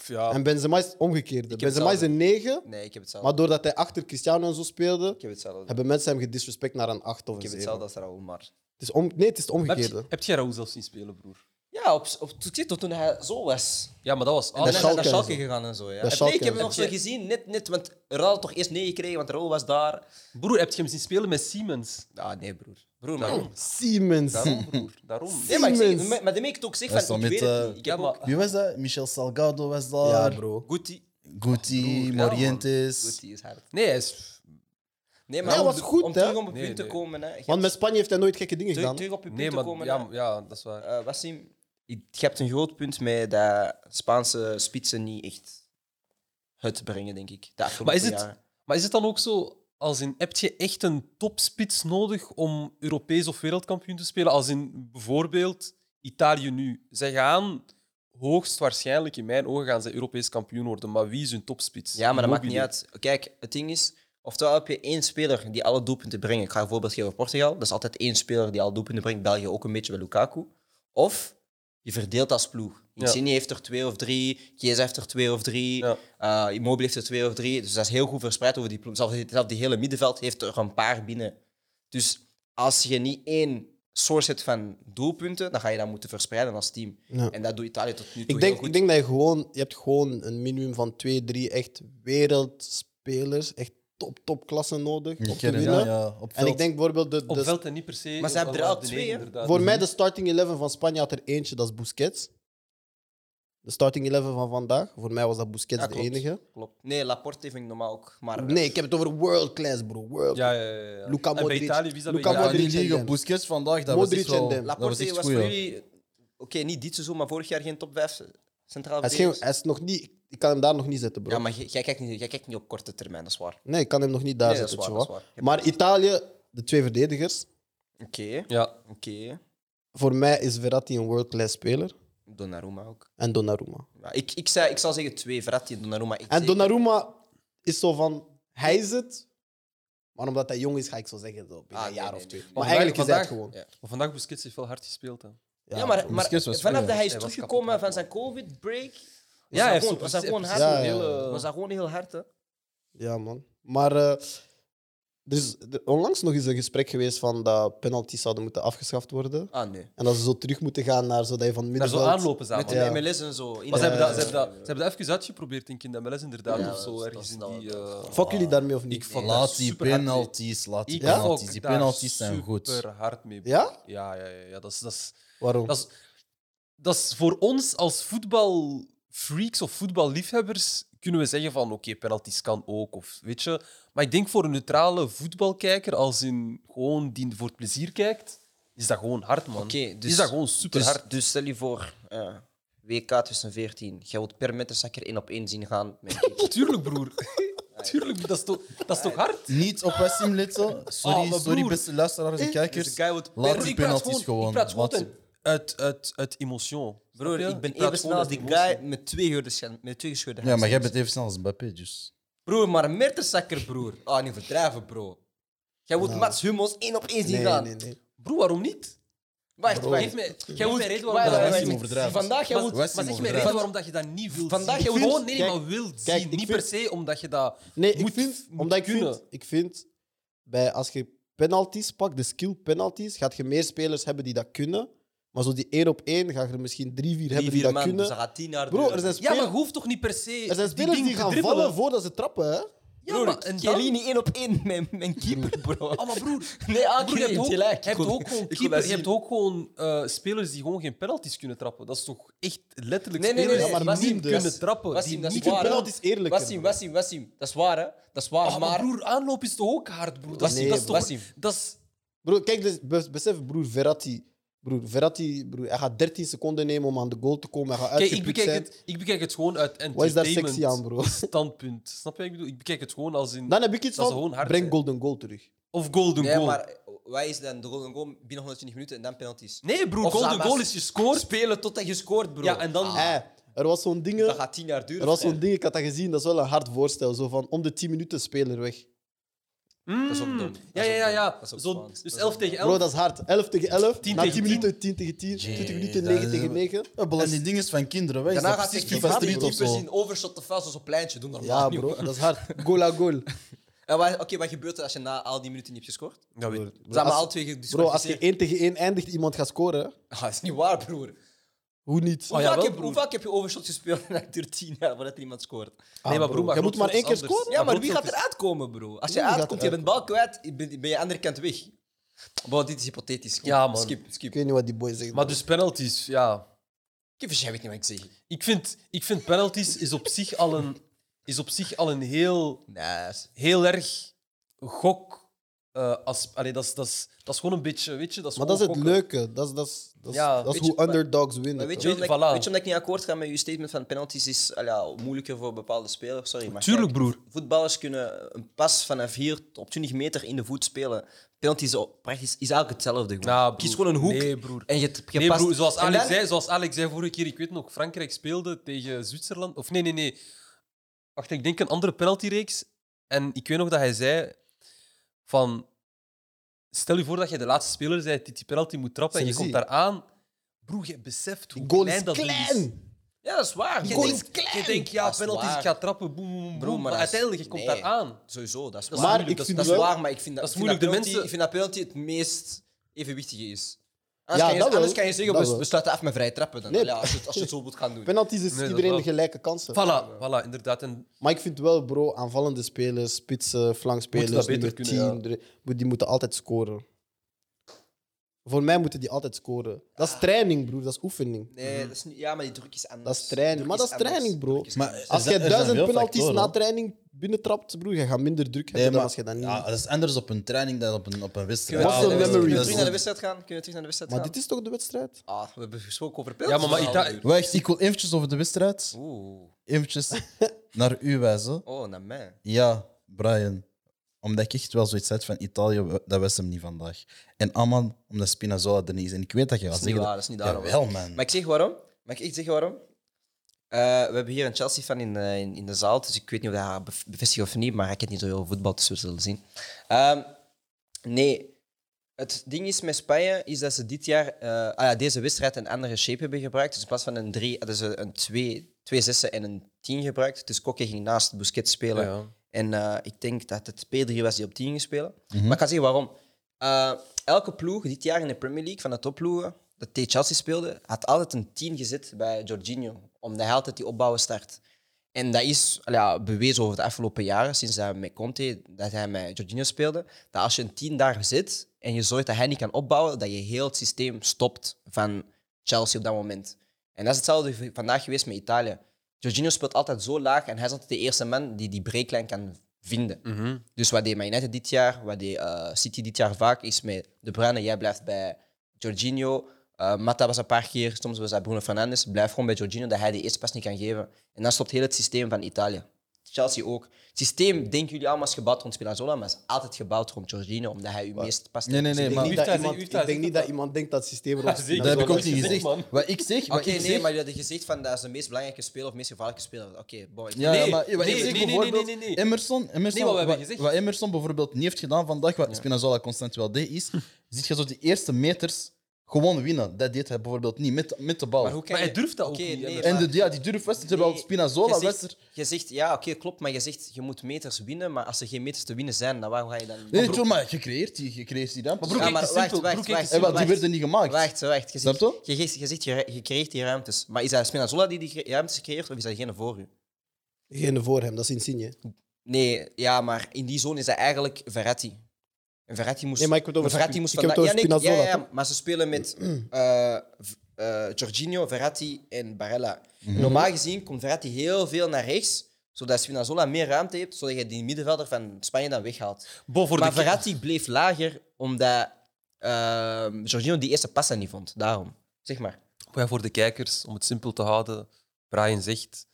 S3: Ja.
S4: En Benzema is het omgekeerde. Benzema is
S5: hetzelfde.
S4: een 9,
S5: Nee, ik heb hetzelfde.
S4: maar doordat hij achter Cristiano en zo speelde,
S5: Ik heb hetzelfde.
S4: hebben mensen hem gedisrespect naar een 8 of
S5: ik
S4: een 7.
S5: heb hetzelfde als Raoul, maar...
S4: Het is om... Nee, het is het
S3: Maar Heb,
S4: omgekeerde.
S3: je- heb jij Raúl zelf zien spelen, broer?
S5: Ja, op, op, tot- tot toen hij zo was.
S3: Ja, maar dat was... Ah,
S5: En dan is hij
S3: alles.
S4: Schalke
S5: naar
S4: en
S5: Schalke
S4: zo.
S5: gegaan en zo. Ja.
S4: Naar
S5: Heb-
S4: Schalke
S5: nee, ik heb hem
S4: en
S5: nog
S4: zo.
S5: zo gezien, net, net want Raoul had toch eerst 9 gekregen, want Raoul was daar.
S3: Broer, heb je hem zien spelen met Siemens?
S5: Ah, nee, broer. Broer, maar...
S3: Daarom.
S4: Siemens.
S3: Daarom, broer. Daarom.
S5: Nee, maar, ik zeg-
S4: Siemens.
S5: maar- maar daarmee ik het ook zeg
S6: Dat is
S5: van, ik
S6: dan
S5: weet
S6: met,
S5: het
S6: eh,
S5: niet. Ik
S3: Ja,
S5: heb ook...
S4: Ah.
S3: maar...
S6: Wie was dat? Michel Salgado was
S4: Ja,
S6: daar.
S4: bro.
S5: Guti.
S6: Guti,
S3: broer, ja,
S6: Morientes.
S5: Guti is hard.
S3: Nee, hij is...
S5: Nee,
S4: Nee,
S5: om-
S4: was goed,
S5: om
S4: hè?
S5: terug op het
S3: Nee,
S5: punt te
S3: nee.
S5: komen, hè. Je
S4: Want met Spanje heeft hij nooit gekke dingen
S5: terug,
S4: gedaan.
S5: terug op je punt
S3: Nee,
S5: te
S3: maar...
S5: komen.
S3: Ja,
S5: hè.
S3: ja, dat is waar.
S5: Eh, Wassim, je je hebt een groot punt met dat Spaanse spitsen niet echt het brengen, denk ik. De afgelopen
S3: Maar is het-
S5: jaren.
S3: Maar is het dan ook zo, als in, heb je echt een topspits nodig om Europees of wereldkampioen te spelen? Als in bijvoorbeeld Italië nu. Zij gaan hoogstwaarschijnlijk in mijn ogen gaan zij Europees kampioen worden, maar wie is hun topspits?
S5: Ja, maar dat maakt
S3: Immobile.
S5: niet uit. Kijk, het ding is, Oftewel heb je één speler die alle doelpunten brengt. Ik ga een voorbeeld geven van Portugal. Dat is altijd één speler die alle doelpunten brengt. België ook een beetje bij Lukaku. Of je verdeelt als ploeg. Insigne heeft er twee of drie. Chiesa heeft er twee of drie.
S3: Ja.
S5: eh, Immobile heeft er twee of drie. Dus dat is heel goed verspreid over die ploeg. Zelfs zelfs die hele middenveld heeft er een paar binnen. Dus als je niet één source hebt van doelpunten, dan ga je dat moeten verspreiden als team.
S4: Ja.
S5: En dat doet Italië tot nu toe
S4: Ik
S5: heel
S4: denk,
S5: goed.
S4: ik denk dat je gewoon, je hebt gewoon een minimum van twee, drie echt wereldspelers, echt top, topklasse nodig om te
S6: ken hem,
S4: winnen.
S6: ja, op
S4: En ik
S6: veld.
S4: denk bijvoorbeeld, de,
S3: Op
S4: de-
S3: veld en niet per se.
S5: Dus- Maar ze hebben er al twee, hè?
S4: voor mij de starting 11 van Spanje had er eentje, dat is Busquets. De starting 11 van vandaag, voor mij was dat Busquets
S5: Ja,
S4: de
S5: klopt.
S4: enige.
S5: Klopt. Nee, Laporte vind ik normaal ook. Maar eh,
S4: Nee, ik heb het over world class, bro. World
S3: Ja, ja, ja. ja.
S4: Luka
S3: En bij
S4: Modric.
S3: Italië, wie is dat bij
S4: Luka
S6: Ja,
S3: Italië?
S4: Modric.
S6: die
S4: en
S6: liga
S4: Dem.
S6: Busquets vandaag, dat
S4: Modric
S6: was echt
S4: en
S6: wel...
S4: Dem.
S6: Dat was
S5: Laporte
S6: echt
S5: was,
S6: goed,
S5: voor
S6: ja.
S5: jullie, oké, niet dit seizoen, maar vorig jaar geen top 5 centraal
S4: Hij is, geen-
S5: verdedigers.
S4: hij is nog niet, ik kan hem daar nog niet zetten, bro.
S5: Ja, maar jij- jij kijkt, niet, jij kijkt niet op korte termijn, dat is waar.
S4: Nee, ik kan hem nog niet daar
S5: Nee, dat
S4: zetten.
S5: is waar,
S4: tjoh.
S5: dat is waar. Je hebt
S4: Maar Italië, de twee verdedigers.
S5: Oké,
S3: Ja,
S5: oké.
S4: Voor mij is Verratti een world-class speler.
S5: Donnarumma ook.
S4: En Donnarumma.
S5: Ja, ik, ik, zei, ik zal zeggen twee, Verratti en Donnarumma. Ik
S4: En
S5: zeg-
S4: Donnarumma is zo van, hij is het. Maar omdat hij jong is, ga ik zo zeggen, zo, binnen
S5: Ah,
S4: een
S5: nee,
S4: jaar
S5: nee,
S4: of
S5: nee.
S4: twee.
S3: Maar
S4: Maar eigenlijk is hij het
S3: vandaag-
S4: gewoon.
S5: Ja.
S3: maar vandaag Busquets heeft wel hard gespeeld. Hè.
S5: Ja, maar, maar
S6: Busquets was
S5: vanaf
S6: goed,
S5: dat hij is
S3: Hij was
S5: teruggekomen
S3: kapot,
S5: van zijn COVID-break, was,
S3: hij
S5: dat
S3: heeft
S5: gewoon,
S3: zo
S5: was dat
S3: precies-
S5: gewoon hard.
S4: precies een
S5: hoor.
S3: eh,
S4: hele-
S5: Was dat gewoon heel hard, hè?
S4: Ja, man. Maar eh, er is er- onlangs nog eens een gesprek geweest van dat penalties zouden moeten afgeschaft worden.
S5: Ah, nee.
S4: En dat ze zo terug moeten gaan naar zodat je van
S3: Daar zo
S4: middenveld...
S3: aanlopen samen.
S5: Met de
S4: Ja.
S5: MLS en zo.
S3: Maar ze hebben, dat, ze, hebben dat,
S5: Ja.
S3: ze hebben dat even uitgeprobeerd in Kind MLS, inderdaad.
S5: Ja,
S3: of zo,
S5: dat is-
S3: ergens in
S5: dat is- nou-
S3: die...
S5: dat is-
S3: eh,
S4: Fuck jullie daarmee of niet?
S3: Ik vond dat
S6: Laat die
S3: superhard mee.
S6: penalties, laat die
S3: Ik
S6: penalties.
S3: fok
S6: Die
S3: daar
S6: penalties zijn goed.
S3: super hard mee.
S4: Ja?
S3: Ja, ja, ja. ja. Dat, is, dat, is,
S4: Waarom?
S3: dat, is, dat is voor ons als voetbalfreaks of voetballiefhebbers kunnen we zeggen van oké, penalties kan ook. Of, weet je. Maar ik denk voor een neutrale voetbalkijker, als in gewoon die voor het plezier kijkt, is dat gewoon hard, man.
S5: Oké, dus-
S3: is dat gewoon super
S5: Dus,
S3: hard.
S5: dus stel je voor, eh, WK 2014. Jij wilt per meterzakker één op één zien gaan. Met
S6: dus-
S5: Kiki.
S3: Tuurlijk, broer. Tuurlijk, dat is toch, dat is toch hard?
S6: Niet op Westim Little.
S3: Ah,
S6: Sorry,
S3: maar
S6: sorry
S3: broer. Eh,
S6: beste luisteraars en kijkers.
S5: Guy wordt
S6: Laat
S3: Broer,
S6: die
S3: ik praat
S6: penalties gewoon.
S3: Ik praat gewoon
S6: Laat ze-
S3: uit, uit, uit, uit emotion.
S5: Broer, ik ben even snel als die guy met twee gescheurde schen- met twee gescheurde
S6: Ja, maar jij
S5: hersens.
S6: bent even snel als Mbappé, dus...
S5: Broer, maar meterzakker, broer. Ah, niet verdrijven, bro. Jij moet Mats Hummels één op één zien
S4: Nee,
S5: gaan.
S4: nee, nee.
S3: Broer, waarom niet?
S5: Wacht, wacht.
S3: Geef mij, geef mij reden waarom
S5: wacht,
S3: dat
S5: wacht,
S3: niet
S5: wacht.
S3: moet.
S6: overdrijft.
S5: Vandaag, jij
S3: Maar,
S5: moet...
S3: maar zeg
S6: Westing
S3: mij
S6: overdrijft.
S3: reden waarom dat je dat niet wilt
S5: Vandaag
S3: zien.
S5: jij wilt-
S3: Gewoon, nee,
S4: Kijk,
S3: maar wilt
S4: kijk,
S3: zien.
S4: ik
S3: Niet
S4: vind-
S3: per se omdat je dat
S4: Nee, ik
S3: moet
S4: vind,
S3: moet
S4: omdat ik
S3: kunnen.
S4: vind, ik vind bij, als je penalties pakt, de skill penalties, gaat je meer spelers hebben die dat kunnen. Maar zo die één op één, ga je er misschien drie, vier hebben die
S5: vier
S4: dat
S5: man, dus
S4: kunnen.
S5: dat gaat tien jaar
S4: Bro,
S5: duren.
S4: er zijn,
S3: Ja,
S4: spelers,
S3: maar je hoeft toch niet per se
S4: er zijn spelers die,
S3: ding te
S4: gaan
S3: dribbelen?
S4: vallen voordat ze trappen, hè?
S3: Ja, maar, en dan-
S5: Chiellini één op één met mijn keeper, bro.
S3: Ah, maar broer,
S5: Nee, ah,
S3: Broer, je hebt ook, je
S5: gelijk.
S3: hebt ook gewoon,
S5: Ik wil
S3: keeper,
S5: dat
S3: je hebt
S5: zien.
S3: ook gewoon eh, spelers die gewoon geen penalties kunnen trappen. Dat is toch echt letterlijk
S5: Nee, nee, nee, nee,
S3: spelers
S4: maar
S3: die niet
S4: Wassim,
S3: kunnen
S4: dat-
S3: trappen.
S5: Wassim,
S3: Die
S5: dat is
S3: niet
S4: Ik vind
S5: waar, hè?
S4: penalties eerlijker.
S5: Wassim,
S4: bro.
S5: Wassim, Wassim. Dat is waar, hè. Dat is waar,
S3: Ah, maar,
S5: maar...
S3: broer, aanloop is toch ook hard, broer? Dat is,
S4: Nee,
S3: dat is
S4: bro.
S3: toch... Dat is,
S4: Bro, kijk, dus, bes- besef, broer Verratti. Broer, Verratti, broer, hij gaat 13 seconden nemen om aan de goal te komen. Hij gaat
S3: kijk, ik
S4: uitgeput
S3: bekijk,
S4: zijn.
S3: het, ik bekijk het gewoon uit
S4: Wat is daar
S3: entertainment
S4: sexy aan, bro?
S3: standpunt. Snap je wat ik bedoel? Ik bekijk het gewoon als in...
S4: Dan heb ik iets
S3: Dat ze
S4: van,
S3: gewoon hard
S4: breng
S3: zijn.
S4: golden goal terug.
S3: Of golden
S5: Nee,
S3: goal.
S5: maar eh, oh, wij is dan de golden goal binnen 120 minuten en dan penalties.
S3: Nee, broer,
S5: Of
S3: golden
S5: Zamas.
S3: goal is je scoort.
S5: Spelen totdat je scoort, bro. Ah.
S3: Ja, en dan...
S4: Hé, er was zo'n ding...
S5: Dat gaat 10 jaar duren.
S4: Er was zo'n ding, ik had dat gezien, dat is wel een hard voorstel. Zo van om de 10 minuten speler weg.
S3: Mm.
S5: is ook dom. Dat is
S3: Ja, ja,
S5: ook dom.
S3: ja. ja.
S5: Dat is ook
S3: Zo,
S5: Spaans. Dat
S3: dus
S5: is
S3: 11
S5: ook
S3: tegen 11.
S4: Bro, dat is hard. 11 tegen 11,
S3: 10
S4: na 10
S3: tegen 10.
S4: minuten 10 tegen 10, 20 minuten 9 tegen 9.
S6: Ja, maar die dingen van kinderen, wij.
S5: Daarna
S6: Daarna
S5: gaat
S6: precies
S5: hij
S6: FIFA
S4: FIFA
S6: Street of
S5: keeper
S6: zo.
S5: zien overshot te vuil, zoals op pleintje. Doen normaal.
S4: Ja,
S5: niet,
S4: bro,
S5: hoor.
S4: dat is hard. Goal à goal.
S5: En wat- Oké, wat gebeurt er als je na al die minuten niet hebt gescoord? Ze
S3: Dat weet ik.
S5: hebben
S4: als-
S5: al twee gediscussieerd.
S4: Bro, als je 1 tegen 1 eindigt, iemand gaat scoren. hè?
S5: Ah, dat is niet waar, broer.
S4: Hoe niet?
S5: Hoe,
S3: ja,
S5: vaak
S3: wel,
S5: heb,
S3: broer.
S5: hoe vaak heb je overshot gespeeld en het duurt 10 jaar voordat er iemand scoort?
S3: Nee, maar broer, maar
S4: Je Ah, moet maar
S3: Grootvoort
S4: één
S3: is
S4: keer
S3: anders.
S4: scoren.
S5: Ja, maar
S3: Grootvoort
S5: wie gaat
S3: is-
S5: er uitkomen, bro? Als je
S4: Wie gaat
S5: uitkomt, je
S4: eruit
S5: bent bal kwijt, je bent ben je andere kant weg. Bro, dit is hypothetisch. Skip,
S3: Ja, man.
S5: Skip, skip.
S4: Ik weet niet wat die boy zegt.
S3: Maar dus penalties, ja.
S5: Kijk, jij weet niet wat ik zeg.
S3: Ik vind, ik vind penalties is op zich al een, is op zich al een heel,
S5: Nice.
S3: heel erg gok. eh as, allee, dat, is, dat, is, dat is gewoon een beetje, weet je, dat is
S4: maar dat is
S3: gewoon
S4: het
S3: gokken.
S4: leuke. Dat is, dat is, dat is,
S3: Ja,
S4: dat is
S5: weet
S4: hoe
S5: je, maar-
S4: underdogs
S5: Maar
S4: winnen.
S5: weet je,
S4: toch?
S3: Weet-
S5: omdat, ik-
S3: voilà.
S5: weet je omdat ik niet akkoord ga met je statement van penalties is ah ja, moeilijker voor bepaalde spelers? Sorry, maar
S3: Tuurlijk,
S5: kijk,
S3: broer.
S5: Voetballers kunnen een pas vanaf hier op 20 meter in de voet spelen. Penalties op- praktisch is eigenlijk hetzelfde. Gewoon.
S3: Ja, broer.
S5: Kies gewoon een hoek
S3: Nee, broer.
S5: en je hebt
S3: Nee,
S5: gepast.
S3: broer, zoals
S5: En
S3: Alex,
S5: dan-
S3: zei, zoals Alex zei vorige keer, ik weet nog, Frankrijk speelde tegen Zwitserland. Of nee, nee, nee. Wacht, ik denk een andere penaltyreeks. En ik weet nog dat hij zei van... Stel je voor dat je de laatste speler bent die die penalty moet trappen en je
S4: Sensi.
S3: komt daar aan. Broer, je beseft hoe
S4: Die goal
S3: klein
S4: is
S3: dat ding is.
S4: klein.
S5: Ja, dat is waar.
S3: Je
S5: Goal
S3: denkt,
S5: is klein.
S3: Je denkt, ja,
S5: Dat is
S3: penalties,
S5: waar.
S3: ik ga trappen, boem, boem, boem,
S5: Bro, maar
S3: maar,
S5: dat is-
S3: uiteindelijk, je komt
S5: nee.
S3: daar aan.
S5: Sowieso, dat is waar.
S3: Dat is
S4: Maar
S3: moeilijk,
S4: ik
S3: dat is-
S4: vind
S5: Dat is
S4: wel-
S5: waar, maar ik vind dat,
S3: Dat is
S5: ik vind
S3: moeilijk, de
S5: penalty-
S3: mensen-
S5: Ik vind dat penalty het meest evenwichtige is. Anders,
S4: Ja,
S5: kan, je,
S4: dat wel.
S5: anders kan je zeggen,
S4: Dat
S5: we,
S4: wel.
S5: we sluiten af met vrije trappen. Dan.
S4: Nee.
S5: Ja, als, je, het- als je het zo moet gaan doen.
S4: Penalties is
S3: dat
S4: iedereen
S3: wel.
S4: gelijke kansen.
S3: Voilà, voilà, inderdaad. En
S4: Maar ik vind wel, bro, aanvallende spelers, spitsen, flankspelers,
S3: Moeten dat
S4: nummer
S3: beter
S4: 10,
S3: kunnen,
S4: drie- die moeten altijd scoren. Voor mij moeten die altijd scoren. Dat is training, broer, dat is oefening.
S5: Nee, dat is niet, ja, maar die druk is anders.
S4: Dat is training.
S5: Die druk
S4: Maar dat is
S5: anders.
S4: training, bro.
S5: Die druk is
S6: Maar-
S5: anders.
S4: Als
S6: Er zijn-
S4: je
S6: er zijn
S4: duizend
S6: veel
S4: penalties
S6: factoren,
S4: na
S6: hoor.
S4: training binnentrapt, broer, je gaat minder druk hebben
S6: Nee,
S4: dan
S6: maar
S4: als je dat niet
S6: ja,
S4: doet.
S6: dat is anders op een training dan op een, op een wedstrijd.
S5: Kunnen
S4: Muscle
S5: we terug naar de wedstrijd-
S4: memory.
S5: kunnen we terug naar de
S6: wedstrijd.
S5: wedstrijd gaan? Kunnen we terug naar de wedstrijd
S4: Maar
S5: gaan?
S4: dit is toch de wedstrijd?
S5: Ah, we hebben gesproken over
S3: ja,
S5: penalty.
S3: maar, maar Ita-
S6: Wacht, ik wil eventjes over de wedstrijd.
S5: Oeh.
S6: Eventjes naar u wijzen.
S5: Oh, naar mij.
S6: Ja, Brian. Omdat ik echt wel zoiets had van Italië, we- dat was hem niet vandaag. En Aman, omdat Spinazzola er niet is. En ik weet dat je
S5: Dat
S6: gaat
S5: is niet
S6: zeggen...
S5: waar, dat is niet daarom.
S6: Jawel, man.
S5: Maar ik zeg waarom. Mag ik echt zeggen waarom? Eh, we hebben hier een Chelsea-fan in, eh, in, in de zaal, dus ik weet niet of hij haar bev- bevestigt of niet, maar ik heb niet zo heel veel voetbal, dus we zullen zien. Ehm, nee, het ding is met Spanje is dat ze dit jaar eh, ah ja, deze wedstrijd een andere shape hebben gebruikt. Dus in plaats van een 3 hadden ze een 2, 2 zessen en een 10 gebruikt. Dus Kokke ging naast Busquets spelen.
S3: Ja.
S5: En eh, ik denk dat het P3 was die op 10 ging spelen. Maar ik ga zeggen waarom. Eh, elke ploeg dit jaar in de Premier League van de topploegen dat tegen Chelsea speelde, had altijd een 10 gezet bij Jorginho. Omdat hij altijd die opbouwen start. En dat is al ja, bewezen over de afgelopen jaren, sinds hij met Conte, dat hij met Jorginho speelde, dat als je een 10 daar zit en je zorgt dat hij niet kan opbouwen, dat je heel het systeem stopt van Chelsea op dat moment. En dat is hetzelfde v- vandaag geweest met Italië. Jorginho speelt altijd zo laag en hij is altijd de eerste man die die breeklijn kan vinden. Dus wat deed Man United dit jaar, wat deed eh, City dit jaar vaak, is met De Bruyne, jij blijft bij Jorginho. Eh Mata was een paar keer, soms was dat Bruno Fernandes. Blijf gewoon bij Jorginho, dat hij de eerste pas niet kan geven. En dan stopt heel het systeem van Italië. Chelsea ook. Het systeem, denken jullie allemaal, is gebouwd rond Spinazzola, maar is altijd gebouwd rond Jorginho, omdat hij uw meest past.
S6: Nee, nee, nee.
S4: Ik
S6: Maar...
S4: denk
S3: Uta
S4: niet dat
S3: zegt-
S4: iemand-
S3: Uta
S4: ik denk
S3: zegt
S4: niet
S3: dat-
S4: dat iemand denkt dat het systeem erop
S3: zeker.
S6: Dat heb ik ook
S3: is
S6: niet
S3: gezegd,
S6: gezegd.
S3: man.
S6: Wat ik zeg...
S5: Oké,
S6: wat ik
S5: nee,
S6: zeg-
S5: maar je had gezegd van dat is de meest belangrijke speler of meest gevaarlijke speler. Oké, boy.
S6: Ja,
S3: Nee,
S6: maar wat
S3: nee,
S6: ik zeg
S3: nee, nee,
S6: bijvoorbeeld,
S3: nee, nee, nee.
S6: Emerson, Emerson
S3: Nee, wat we hebben
S6: wat,
S3: gezegd.
S6: wat Emerson bijvoorbeeld niet heeft gedaan vandaag, wat Spinazzola constant wel deed, is, ziet je zo die eerste meters gewoon winnen. Dat deed hij bijvoorbeeld niet, met, met de bal.
S5: Maar hoe kan
S3: Maar hij
S5: je-
S3: durft dat
S5: Oké,
S3: ook niet,
S5: nee,
S3: Emerson.
S6: en
S5: maar-
S6: de, ja, die durf was er,
S5: Nee,
S6: terwijl Spinazzola
S5: je
S6: was
S5: zegt,
S6: er.
S5: Je zegt, ja, oké, klopt, maar je zegt, je moet meters winnen, maar als er geen meters te winnen zijn, dan waarom ga je dan...
S6: Nee, broer, maar je creëert die, je creëert die ruimte.
S3: Maar
S5: Ja,
S3: broer, kijk,
S5: maar
S3: het is
S5: wacht,
S3: simpel.
S5: wacht,
S3: Broer, kijk, het is
S5: wacht.
S3: simpel.
S6: en wat, die werden niet gemaakt.
S5: Wacht, wacht. Je,
S6: Snap
S5: zegt,
S6: je?
S5: je, zegt- je zegt, je, je creëert die ruimtes. Maar is dat Spinazzola die die ruimtes creëert, of is dat geen voor u?
S4: Geen voor hem, dat is Insigne.
S5: Nee, ja, maar in die zone is dat eigenlijk Verratti. En Verratti moest...
S4: Nee, maar ik heb het over
S5: Verratti
S4: Spi-
S5: moest
S4: ik heb het
S5: vandaag-
S4: over
S5: ja, nee,
S4: Spinazzola,
S5: Ja, ja, maar ze spelen met eh, v- eh, Jorginho, Verratti en Barella.
S4: Mhm.
S5: En Normaal gezien komt Verratti heel veel naar rechts, zodat Spinazzola meer ruimte heeft, zodat je die middenvelder van Spanje dan weghaalt.
S3: Bo, voor de
S5: maar
S3: keeper.
S5: Verratti bleef lager, omdat eh Jorginho die eerste pas niet vond. Daarom. Zeg maar.
S3: Maar ja, voor de kijkers, om het simpel te houden, Brian zegt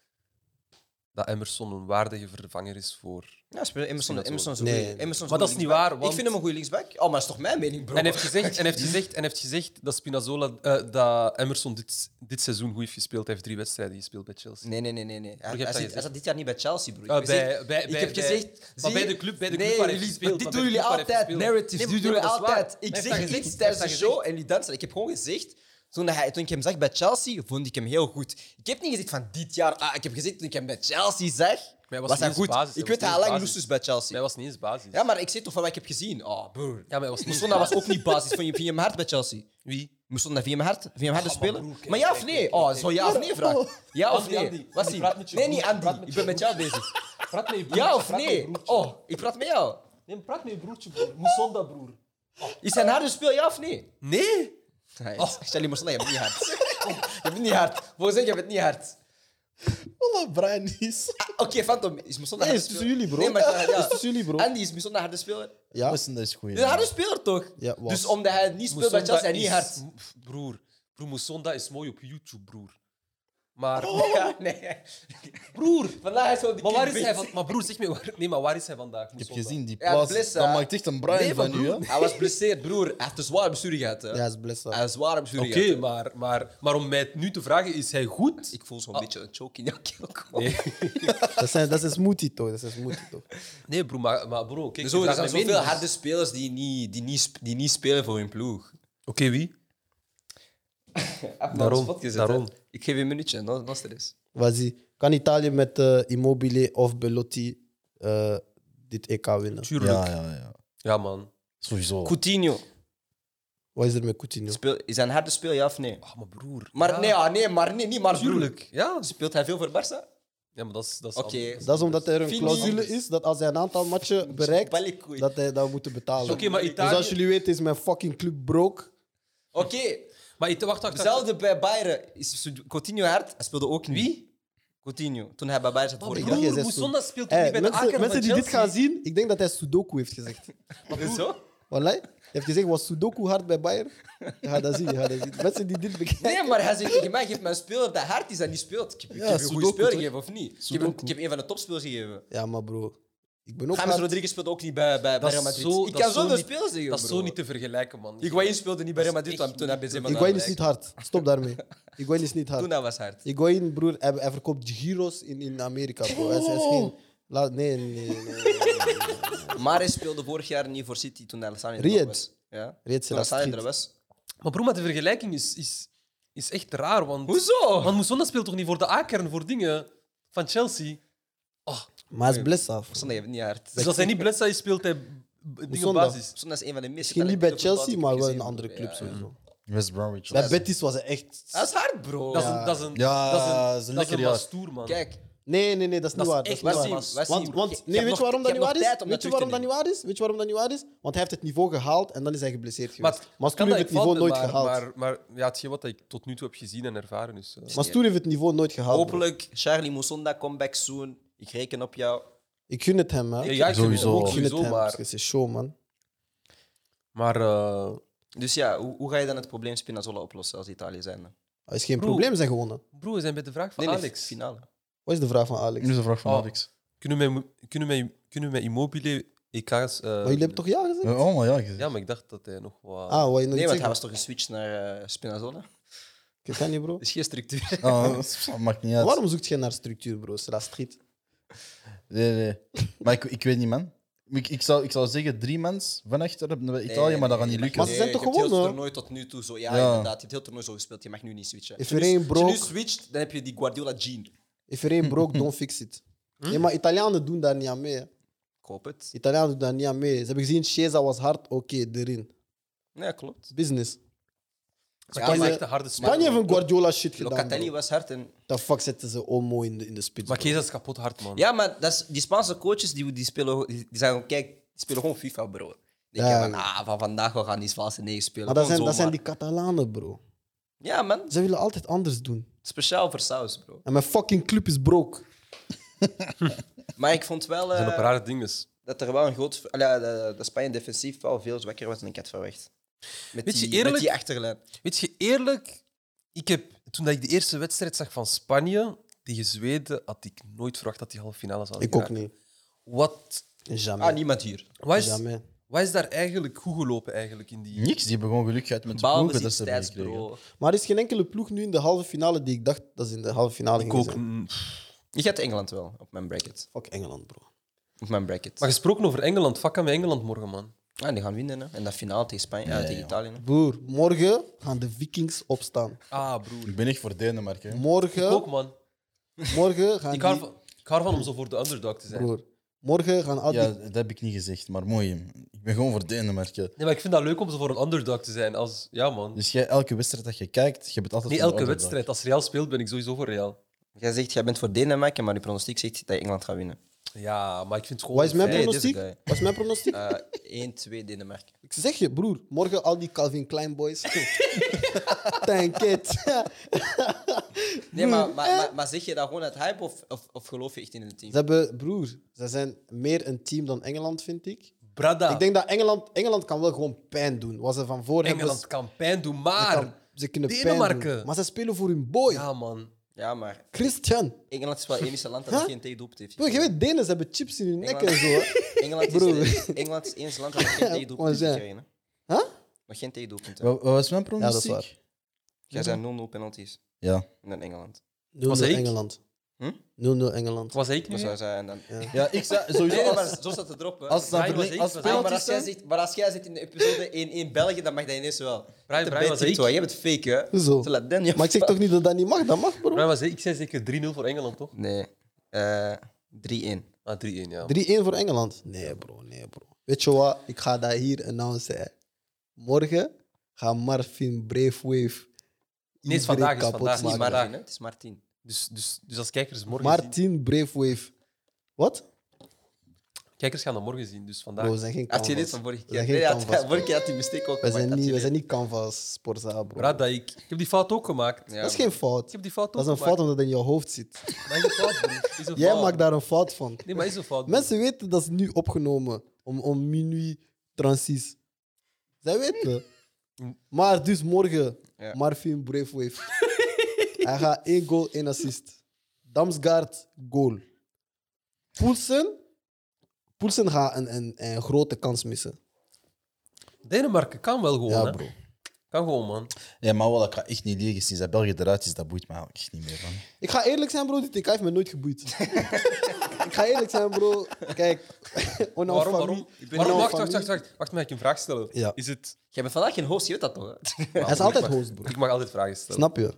S3: dat Emerson een waardige vervanger is voor...
S5: Ja, speel- Emerson,
S3: dat
S5: Emerson is een
S4: Nee.
S5: goeie- Emerson een
S3: Maar dat is
S5: goeie
S3: niet
S5: linksback.
S3: waar, want-
S5: Ik vind hem een goede linksback. Oh, maar dat is toch mijn mening, bro?
S3: En heeft gezegd, en heeft gezegd, en heeft gezegd dat, Spinazzola, eh, dat Emerson dit, dit seizoen goed heeft gespeeld. Hij heeft drie wedstrijden gespeeld bij Chelsea.
S5: Nee, nee, nee, nee. nee. Hij,
S3: je hebt
S5: hij,
S3: dat
S5: zit, hij
S3: gezegd.
S5: zat dit jaar niet bij Chelsea, bro. Ik
S3: Ah,
S5: heb
S3: bij-
S5: gezegd-
S3: bij-
S5: ik
S3: bij-
S5: heb
S3: bij-
S5: gezegd...
S3: maar
S5: zie
S3: bij
S5: je-
S3: de club- bij de
S5: nee,
S3: club waar hij
S5: jullie-
S3: gespeeld,
S5: Dit
S3: maar
S5: doen
S3: bij de
S5: jullie
S3: club waar hij
S5: altijd.
S3: gespeeld.
S5: Narratives,
S3: Nee,
S5: dit
S3: maar
S5: doen jullie
S3: dat is waar.
S5: altijd. Ik
S3: Hij
S5: zeg
S3: heeft
S5: iets
S3: dat gezegd, hij heeft
S5: tijdens
S3: dat
S5: de
S3: gezegd.
S5: show en jullie dansen. Ik heb gewoon gezegd... Toen, hij, toen ik hem zag bij Chelsea, vond ik hem heel goed. Ik heb niet gezegd van dit jaar... Ah, ik heb gezegd toen ik hem bij Chelsea zag,
S3: hij
S5: was,
S3: was
S5: hij
S3: niet eens
S5: goed.
S3: basis, hij
S5: ik weet dat
S3: was niet
S5: hij
S3: eens
S5: lang
S3: basis.
S5: loest is bij Chelsea.
S3: Hij was niet eens basis.
S5: Ja, maar ik zeg toch van wat ik heb gezien. Oh, broer.
S3: Ja, maar hij was niet
S5: Moestona was ook niet basis. Vond je, vind je hem hard bij Chelsea?
S3: Wie? Ah,
S5: Moestona, vind je hem hard? Vind je hem harder spelen? maar ja of nee? Oh, zo ja of nee vraag. Ja of
S3: Andy,
S5: nee?
S3: Andy,
S5: Wat
S3: Andy,
S5: zie
S3: praat met je
S5: Nee,
S3: broer,
S5: niet
S3: praat
S5: Andy.
S3: met
S5: Ik
S3: je
S5: ben met jou bezig.
S3: Praat met je broertje.
S5: Ja of
S3: praat met je
S5: nee?
S3: broertje.
S5: Oh, ik praat met jou.
S3: Nee, maar praat met je broertje, broer. Moesonda, broer.
S5: Is hij een harde speel, ja of nee?
S3: Nee?
S5: Nee,
S3: Oh.
S5: Stel je Moestona, je bent niet hard. Je bent niet hard. Volgens mij, je bent niet hard.
S4: Voilà, Brian is.
S5: Ah, Oké, Phantom, is Moestona
S4: Nee,
S5: harde
S4: het is tussen jullie, bro.
S5: Nee, maar ja, ja.
S4: Het is tussen jullie, bro.
S5: Andy, is Moestona harde speler?
S4: Ja,
S6: Listen, dat is goed.
S5: Een harde speler toch?
S4: Ja, was.
S5: dus omdat hij niet speelt bij
S3: Moesonda
S5: Chelsea, hij niet
S3: is-
S5: hard.
S3: Broer, broer Moesonda is mooi op YouTube, broer. Maar,
S5: Ja, nee. Broer, vandaag is wel die
S3: maar waar
S5: kick
S3: is hij
S5: bit.
S3: van, Maar broer, zeg me waar, nee, maar waar is hij vandaag?
S6: Ik heb gezien die
S5: Ja,
S6: plaats.
S5: Blissa.
S6: dat maakt echt een Brian
S5: Nee,
S6: van
S5: maar
S6: u, hè?
S5: broer, Hij was geblesseerd, broer. Hij heeft een zware bestuur gehad. Hè.
S4: Ja, hij is blessed.
S5: Hij heeft een zware bestuur
S3: Oké,
S5: gehad. hè.
S3: maar, maar, maar om mij nu te vragen, is hij goed? Ah.
S5: Ik voel zo'n beetje een choke in jouw keel komen.
S3: Nee,
S4: Dat, zijn, dat is smoothie toch? Dat is smoothie toch?
S3: nee broer, maar, maar bro, kijk,
S5: Er
S3: ik
S5: zo- er
S3: vraag
S5: zijn
S3: mijn
S5: zoveel
S3: mening.
S5: harde spelers die niet, die, niet, sp- die niet spelen voor hun ploeg.
S3: Oké, wie?
S5: Even
S3: Daarom,
S5: op de spot gezet, hè.
S3: daarom.
S5: Ik geef je een minuutje, no, no stress.
S4: Was Kan Italië met eh, Immobile of Belotti eh, dit EK winnen?
S3: Tuurlijk.
S6: Ja,
S3: Ja,
S6: ja, ja.
S3: man.
S6: Sowieso.
S7: Coutinho.
S4: Wat is er met Coutinho?
S7: Speel, is hij een harde speel, ja of nee?
S3: Ah, maar broer.
S5: Maar
S3: ja,
S5: nee, ah, nee, maar nee, niet maar broer.
S3: Tuurlijk, ja.
S5: Speelt hij veel voor Barça?
S3: Ja, maar dat is... dat is
S5: Oké.
S3: anders.
S4: Dat is omdat er een
S5: Vind
S4: clausule
S5: niet.
S4: is dat als hij een aantal matchen bereikt,
S5: Balikoei.
S4: dat hij dat moet betalen.
S3: Oké, maar
S4: Dus als
S3: Italië-
S4: jullie weten, is mijn fucking club broke.
S5: Oké,
S3: Maar ik- wacht, wacht, wacht.
S5: hetzelfde bij Bayern. Is Coutinho hard? Hij speelde ook niet. Wie? Coutinho, toen hij bij Bayern zat vorig
S4: broer,
S5: jaar.
S4: Oh, jij zei
S3: Broer,
S4: zo.
S3: Moesonda speelt
S4: Eh,
S3: toch niet bij de
S4: mensen
S3: Aken
S4: mensen
S3: van
S4: die dit
S3: Chelsea?
S4: gaan zien, ik denk dat hij Sudoku heeft gezegd.
S5: Zo?
S4: Wallahi, hij heeft gezegd, was Sudoku hard bij Bayern? Je gaat dat zien, je gaat dat zien. Mensen die dit bekijken...
S5: Nee, maar hij zegt tegen mij, geef mij een speler dat hard is dat niet speelt. Ik heb, ik
S6: Ja,
S5: heb je een goede
S6: Sudoku,
S5: speler
S6: toch?
S5: gegeven, of niet? Ik heb, een,
S4: Sudoku.
S5: ik heb een van de topspelers gegeven.
S4: Ja, maar bro, ik ben ook
S5: James
S4: hard.
S5: Rodriguez speelt ook niet bij, bij, bij
S3: Dat
S5: Real
S3: is
S5: Madrid.
S3: zo-
S5: ik
S3: dat
S5: kan
S3: is zo
S5: zoveel
S3: niet-
S5: spelers zeggen,
S3: Dat is
S5: broer.
S3: zo niet te vergelijken, man.
S5: Higuaïn speelde niet bij Real Madrid
S3: echt
S5: toen- toen hij Benzema
S4: Higuain is
S5: daar
S4: niet
S5: lijkt.
S4: hard. Stop daarmee. Higuain is niet
S5: Toen
S4: hard.
S5: hij was hard.
S4: Higuain, broer, hij, hij verkoopt gyros in, in Amerika, bro. Hij is, hij is geen... Laat- nee, nee, nee. nee.
S5: Maar hij speelde vorig jaar niet voor City toen hij Lissani
S4: Riyad.
S5: was. Ja?
S4: Reeds
S5: Toen
S4: dat
S5: Lissani er
S4: schiet.
S5: was.
S3: Maar broer, maar de vergelijking is, is, is echt raar, want...
S5: Hoezo?
S3: Want Moesonda speelt toch niet voor de A-kern, voor dingen van Chelsea?
S4: Maar hij is blessed af.
S5: Sonda heeft niet hard.
S3: Dus als hij niet blessed is, speelt hij b- dingen
S4: Moesonda.
S3: basis.
S5: Sonda is een van de meest...
S4: Misschien niet bij Chelsea,
S5: talentvolle voetballers die ik
S4: maar
S5: heb
S4: wel
S5: gezien,
S4: een andere
S5: broer.
S4: club
S5: Ja.
S4: sowieso.
S6: West Bromwich.
S4: Bij Betis was hij echt...
S5: Dat is hard, bro.
S3: Dat is
S4: Ja.
S3: een, dat is een,
S6: Ja,
S3: dat is een,
S6: dat is een
S3: dat is
S6: lekker
S3: een
S6: jaar.
S3: stoer, man.
S5: Kijk,
S4: Nee, nee, nee, dat is niet
S3: Dat is
S4: waar. Dat is
S3: echt
S4: niet
S5: Wassim,
S4: waar. Want,
S5: Wassim,
S4: want
S5: je hebt
S4: nee, weet
S5: nog-
S4: je waarom dat
S5: je
S4: niet
S5: hebt
S4: waar
S5: nog tijd
S4: is?
S5: om
S4: Weet
S5: dat
S4: je
S5: terug te
S4: waarom dat niet waar is? Weet je waarom dat niet waar is? Want hij heeft het niveau gehaald en dan is hij geblesseerd
S3: Maar
S4: geweest.
S3: het
S4: Maar
S3: kan
S4: Stoer heeft het
S3: dat
S4: niveau
S3: vallen,
S4: nooit
S3: maar-
S4: gehaald.
S3: Maar, maar ja, hetgeen wat ik tot nu toe heb gezien en ervaren is... eh,
S4: Maar Stoer heeft het niveau nooit gehaald. bro.
S5: hopelijk Charlie Moussonda, comeback soon. Ik reken op jou.
S4: Ik gun het hem, hè.
S3: ja, ik
S6: Sowieso.
S3: ook
S4: Ik gun het hem.
S3: maar...
S4: Het is show, man.
S3: Maar... eh,
S5: Dus ja, hoe, hoe ga je dan het probleem Spinazzola oplossen als Italië zijn? dan?
S4: Het is geen
S3: Bro.
S4: probleem, zijn gewonnen.
S3: broer, we zijn bij de vraag van
S5: Nee, nee,
S3: Alex.
S5: finale.
S4: Wat is de vraag van Alex?
S6: Nu is de vraag van
S3: Oh.
S6: Alex.
S3: Kunnen we, met- kunnen we, kunnen we met Immobile EK's... eh,
S4: Maar jullie hebben toch ja gezegd?
S6: Eh, Oh, maar ja, gezien.
S3: Ja, maar ik dacht dat hij nog wat...
S4: Ah, wat je nog
S5: Nee,
S4: niet
S5: want hij
S4: zeggen?
S5: was toch geswitcht naar eh Spinazzola? Er
S4: Ik kan niet, bro.
S5: is geen structuur.
S6: Ah, dat maakt niet uit.
S4: Waarom zoekt je naar structuur, bro? C'est la street.
S6: Nee, nee. Maar ik, ik weet niet, man. Ik, ik, zou, ik zou zeggen drie mens van achter hebben we Italië, maar dat gaat niet lukken.
S4: Maar ze zijn toch
S5: je hebt heel
S4: gewonnen?
S5: het toernooi tot nu toe zo. Ja,
S6: Ja.
S5: inderdaad. Je hebt heel het toernooi zo gespeeld. Je mag nu niet switchen.
S4: If
S5: Als je
S4: er
S5: nu-
S4: één
S5: Als je
S4: broke-
S5: nu switcht, dan heb je die Guardiola gene.
S4: If er één broke, don't fix it. Nee, maar Italianen doen daar niet aan mee. hè.
S5: Ik hoop het.
S4: Italianen doen daar niet aan mee. Ze hebben gezien, Chiesa was hard, oké, erin.
S5: Ja, klopt.
S4: Business.
S3: Ja,
S5: Spanje-
S3: maar echt een harde speler.
S4: Spanje heeft een Guardiola shit gedaan.
S5: Locatelli
S4: bro.
S5: was hard. En...
S4: The fuck zetten ze Omo in de, in de spits.
S3: Maar
S4: bro.
S3: Kees is kapot hard, man.
S5: Ja, maar dat is, die Spaanse coaches die, die spelen, die die zijn, gewoon- kijk, die spelen gewoon FIFA, bro. Die
S4: Ja.
S5: denken van, ah, van vandaag we gaan die Spaanse negen spelen.
S4: Maar dat
S5: Gewoon
S4: zijn, dat zijn
S5: zomaar.
S4: die Catalanen, bro.
S5: Ja, man.
S4: Ze willen altijd anders doen.
S5: Speciaal voor Saus, bro.
S4: En mijn fucking club is broke.
S5: Maar ik vond wel
S3: Dat
S5: eh,
S3: zijn op rare dingen.
S5: dat er wel een groot... Ja, dat, dat Spanje defensief wel veel zwakker was dan ik had verwacht. Met,
S3: Weet je,
S5: die,
S3: eerlijk-
S5: met die achterlijn.
S3: Weet je, eerlijk, ik heb, toen dat ik de eerste wedstrijd zag van Spanje tegen Zweden, had ik nooit verwacht dat die halve finale zou
S4: Ik ook niet.
S3: Wat,
S4: Jamais.
S5: Ah, niemand hier.
S3: wat, is,
S4: Jamais.
S3: wat is daar eigenlijk goed gelopen eigenlijk in die...
S6: Niks, die hebben gewoon geluk gehad met de ploegen dat ze hebben
S5: Balbezit,
S6: gekregen.
S5: bro.
S4: Maar er is geen enkele ploeg nu in de halve finale die ik dacht dat ze in de halve finale
S3: Ik
S4: gingen
S3: ook,
S4: zijn.
S3: mm.
S5: Ik had Engeland wel, op mijn bracket.
S4: Fuck Engeland, bro.
S5: Op mijn bracket.
S3: Maar gesproken over Engeland, fuck aan met Engeland morgen, man.
S5: Ah, die gaan winnen, hè. En dat finale tegen, Spanje, eh, tegen Italië. hè.
S4: Broer, morgen gaan de Vikings opstaan.
S3: Ah, broer.
S6: Ik ben echt voor Denemarken. hè.
S3: Ik ook,
S4: Morgen,
S3: man.
S4: morgen gaan
S3: Ik hou,
S4: die-
S3: ervan- ik hou ervan om zo voor de underdog te zijn.
S4: Broer, morgen gaan al die...
S6: Ja, dat heb ik niet gezegd, maar mooi. Ik ben gewoon voor Denemarken.
S3: Nee, maar ik vind dat leuk om zo voor een underdog te zijn. Als, ja, man.
S6: Dus jij, elke wedstrijd dat je kijkt, je hebt het altijd
S3: Niet
S6: voor de
S3: elke
S6: underdog.
S3: wedstrijd. Als Real speelt, ben ik sowieso voor Real.
S5: Jij zegt, jij bent voor Denemarken, maar die pronostiek zegt dat Engeland gaat winnen.
S3: Ja, maar ik vind het gewoon...
S4: Wat is mijn
S5: Nee, dit is
S4: pronostiek?
S5: het, hè.
S4: Wat is mijn pronostiek?
S5: Eh 1, 2 Denemarken.
S4: Ik zeg je, broer, morgen al die Calvin Klein boys. Thank it.
S5: Nee,
S4: Hmm.
S5: maar,
S4: Eh.
S5: maar, maar, maar zeg je dat gewoon uit hype of, of, of geloof je echt in het team?
S4: Ze hebben, broer, ze zijn meer een team dan Engeland, vind ik.
S3: Brada,
S4: Ik denk dat Engeland, Engeland kan wel gewoon pijn doen. Wat ze van voor hebben,
S3: Engeland kan pijn doen,
S4: ze,
S3: maar...
S4: kan- ze kunnen pijn
S3: Denemarken.
S4: doen. Maar ze spelen voor hun boy.
S3: Ja, man.
S5: Ja, maar
S4: Christian.
S5: Engeland is wel het enige land dat
S4: Huh?
S5: geen tegendoelpunt heeft.
S4: Bro, je weet, Denen ze hebben chips in hun nek en zo. hè.
S5: Engeland is,
S4: Broer.
S5: Engeland is het enige land dat geen tegendoelpunt
S4: Wat
S5: heeft
S4: zei-
S5: gekregen.
S4: Huh?
S5: Maar geen tegendoelpunt. hè.
S6: Wat wat was mijn
S4: dat
S6: pronostiek?
S4: is waar.
S5: Jij zei 0-0 penalties.
S6: Ja.
S5: En dan Engeland.
S4: 0-0
S3: ik?
S4: Engeland.
S5: Hm?
S4: 0-0 Engeland.
S3: Was ik nu?
S5: Dat zou zijn. En dan...
S6: Ja, ik zei sowieso.
S5: Nee, nee, maar
S6: als-
S5: zo staat het erop. hè.
S6: Als dat
S3: Brian was
S6: verleng-
S3: ik,
S6: als
S3: was ik.
S5: Ah, maar,
S6: penalty
S5: als jij
S6: zijn.
S5: zit, maar als jij zit in de episode 1-1 België, dan mag dat ineens wel.
S3: Brian,
S5: Te
S3: Brian was
S5: bij
S3: ik.
S5: Tito, hè. Jij bent fake, hè?
S4: Zo.
S5: Te laat den, ja.
S4: Maar ik zeg toch niet dat dat niet mag? Dat mag, bro. 3-1
S3: Maar was ik? Ik zei zeker 3-0 voor Engeland, toch?
S5: Nee. Eh 3-1.
S3: Ah, 3-1, ja.
S4: voor Engeland. Nee, bro. Nee, bro. Weet je wat? Ik ga dat hier announcen. hè. Morgen gaat Marvin Braithwaite
S3: Nee, het is
S4: iedereen
S3: vandaag, het is
S4: kapot
S3: vandaag.
S5: Het is niet
S4: maken.
S5: Martin, hè? Het is Martin.
S3: Dus, dus, dus als kijkers morgen zien...
S4: Martin Braithwaite. Wat?
S3: Kijkers gaan dat morgen zien, dus vandaag...
S4: Bro, we zijn geen
S5: Had je dit
S4: canvas.
S5: van vorige
S4: We zijn
S5: keer?
S4: geen
S5: Nee, had,
S4: canvas.
S5: vorige keer had hij mistake ook
S4: We
S5: gemaakt,
S4: zijn
S5: had
S4: niet,
S5: hij
S4: we
S5: dit.
S4: zijn niet canvas sportzaal, bro.
S3: Raad dat ik... Ik heb die fout ook gemaakt.
S5: Ja,
S4: Dat is geen fout.
S3: Ik heb die fout
S4: Dat
S3: ook
S4: is een
S3: gemaakt.
S4: fout omdat het in je hoofd zit.
S3: Maar is een fout, broer. Is een
S4: Jij
S3: fout.
S4: maakt daar een fout van.
S3: Nee, maar is een fout. broer.
S4: Mensen weten dat is nu opgenomen om, om minuut transis. Zij weten. Maar dus morgen,
S5: Ja.
S4: Marvin Braithwaite. Hij gaat één goal, één assist. Damsgaard, goal. Poelsen, Poelsen gaat een, een, een grote kans missen.
S3: Denemarken kan wel gewoon,
S4: Ja,
S3: hè.
S4: bro.
S3: Kan gewoon, man.
S6: Ja, maar wat ik ga echt niet liegen. Sinds dat België eruit is, dat boeit me eigenlijk echt niet meer. Man.
S4: Ik ga eerlijk zijn, bro. Dit TK heeft me nooit geboeid. ik ga eerlijk zijn, bro. Kijk, on our
S3: Waarom, waarom?
S4: family-
S3: Ik ben waarom?
S4: on our
S3: Wacht, wacht,
S4: family-
S3: wacht, wacht. Wacht, mag ik een vraag stellen?
S4: Ja.
S3: Is het...
S5: Jij bent vandaag geen host, je weet dat toch? hè?
S4: Hij is altijd host, bro.
S3: Ik mag altijd vragen stellen.
S4: Snap je?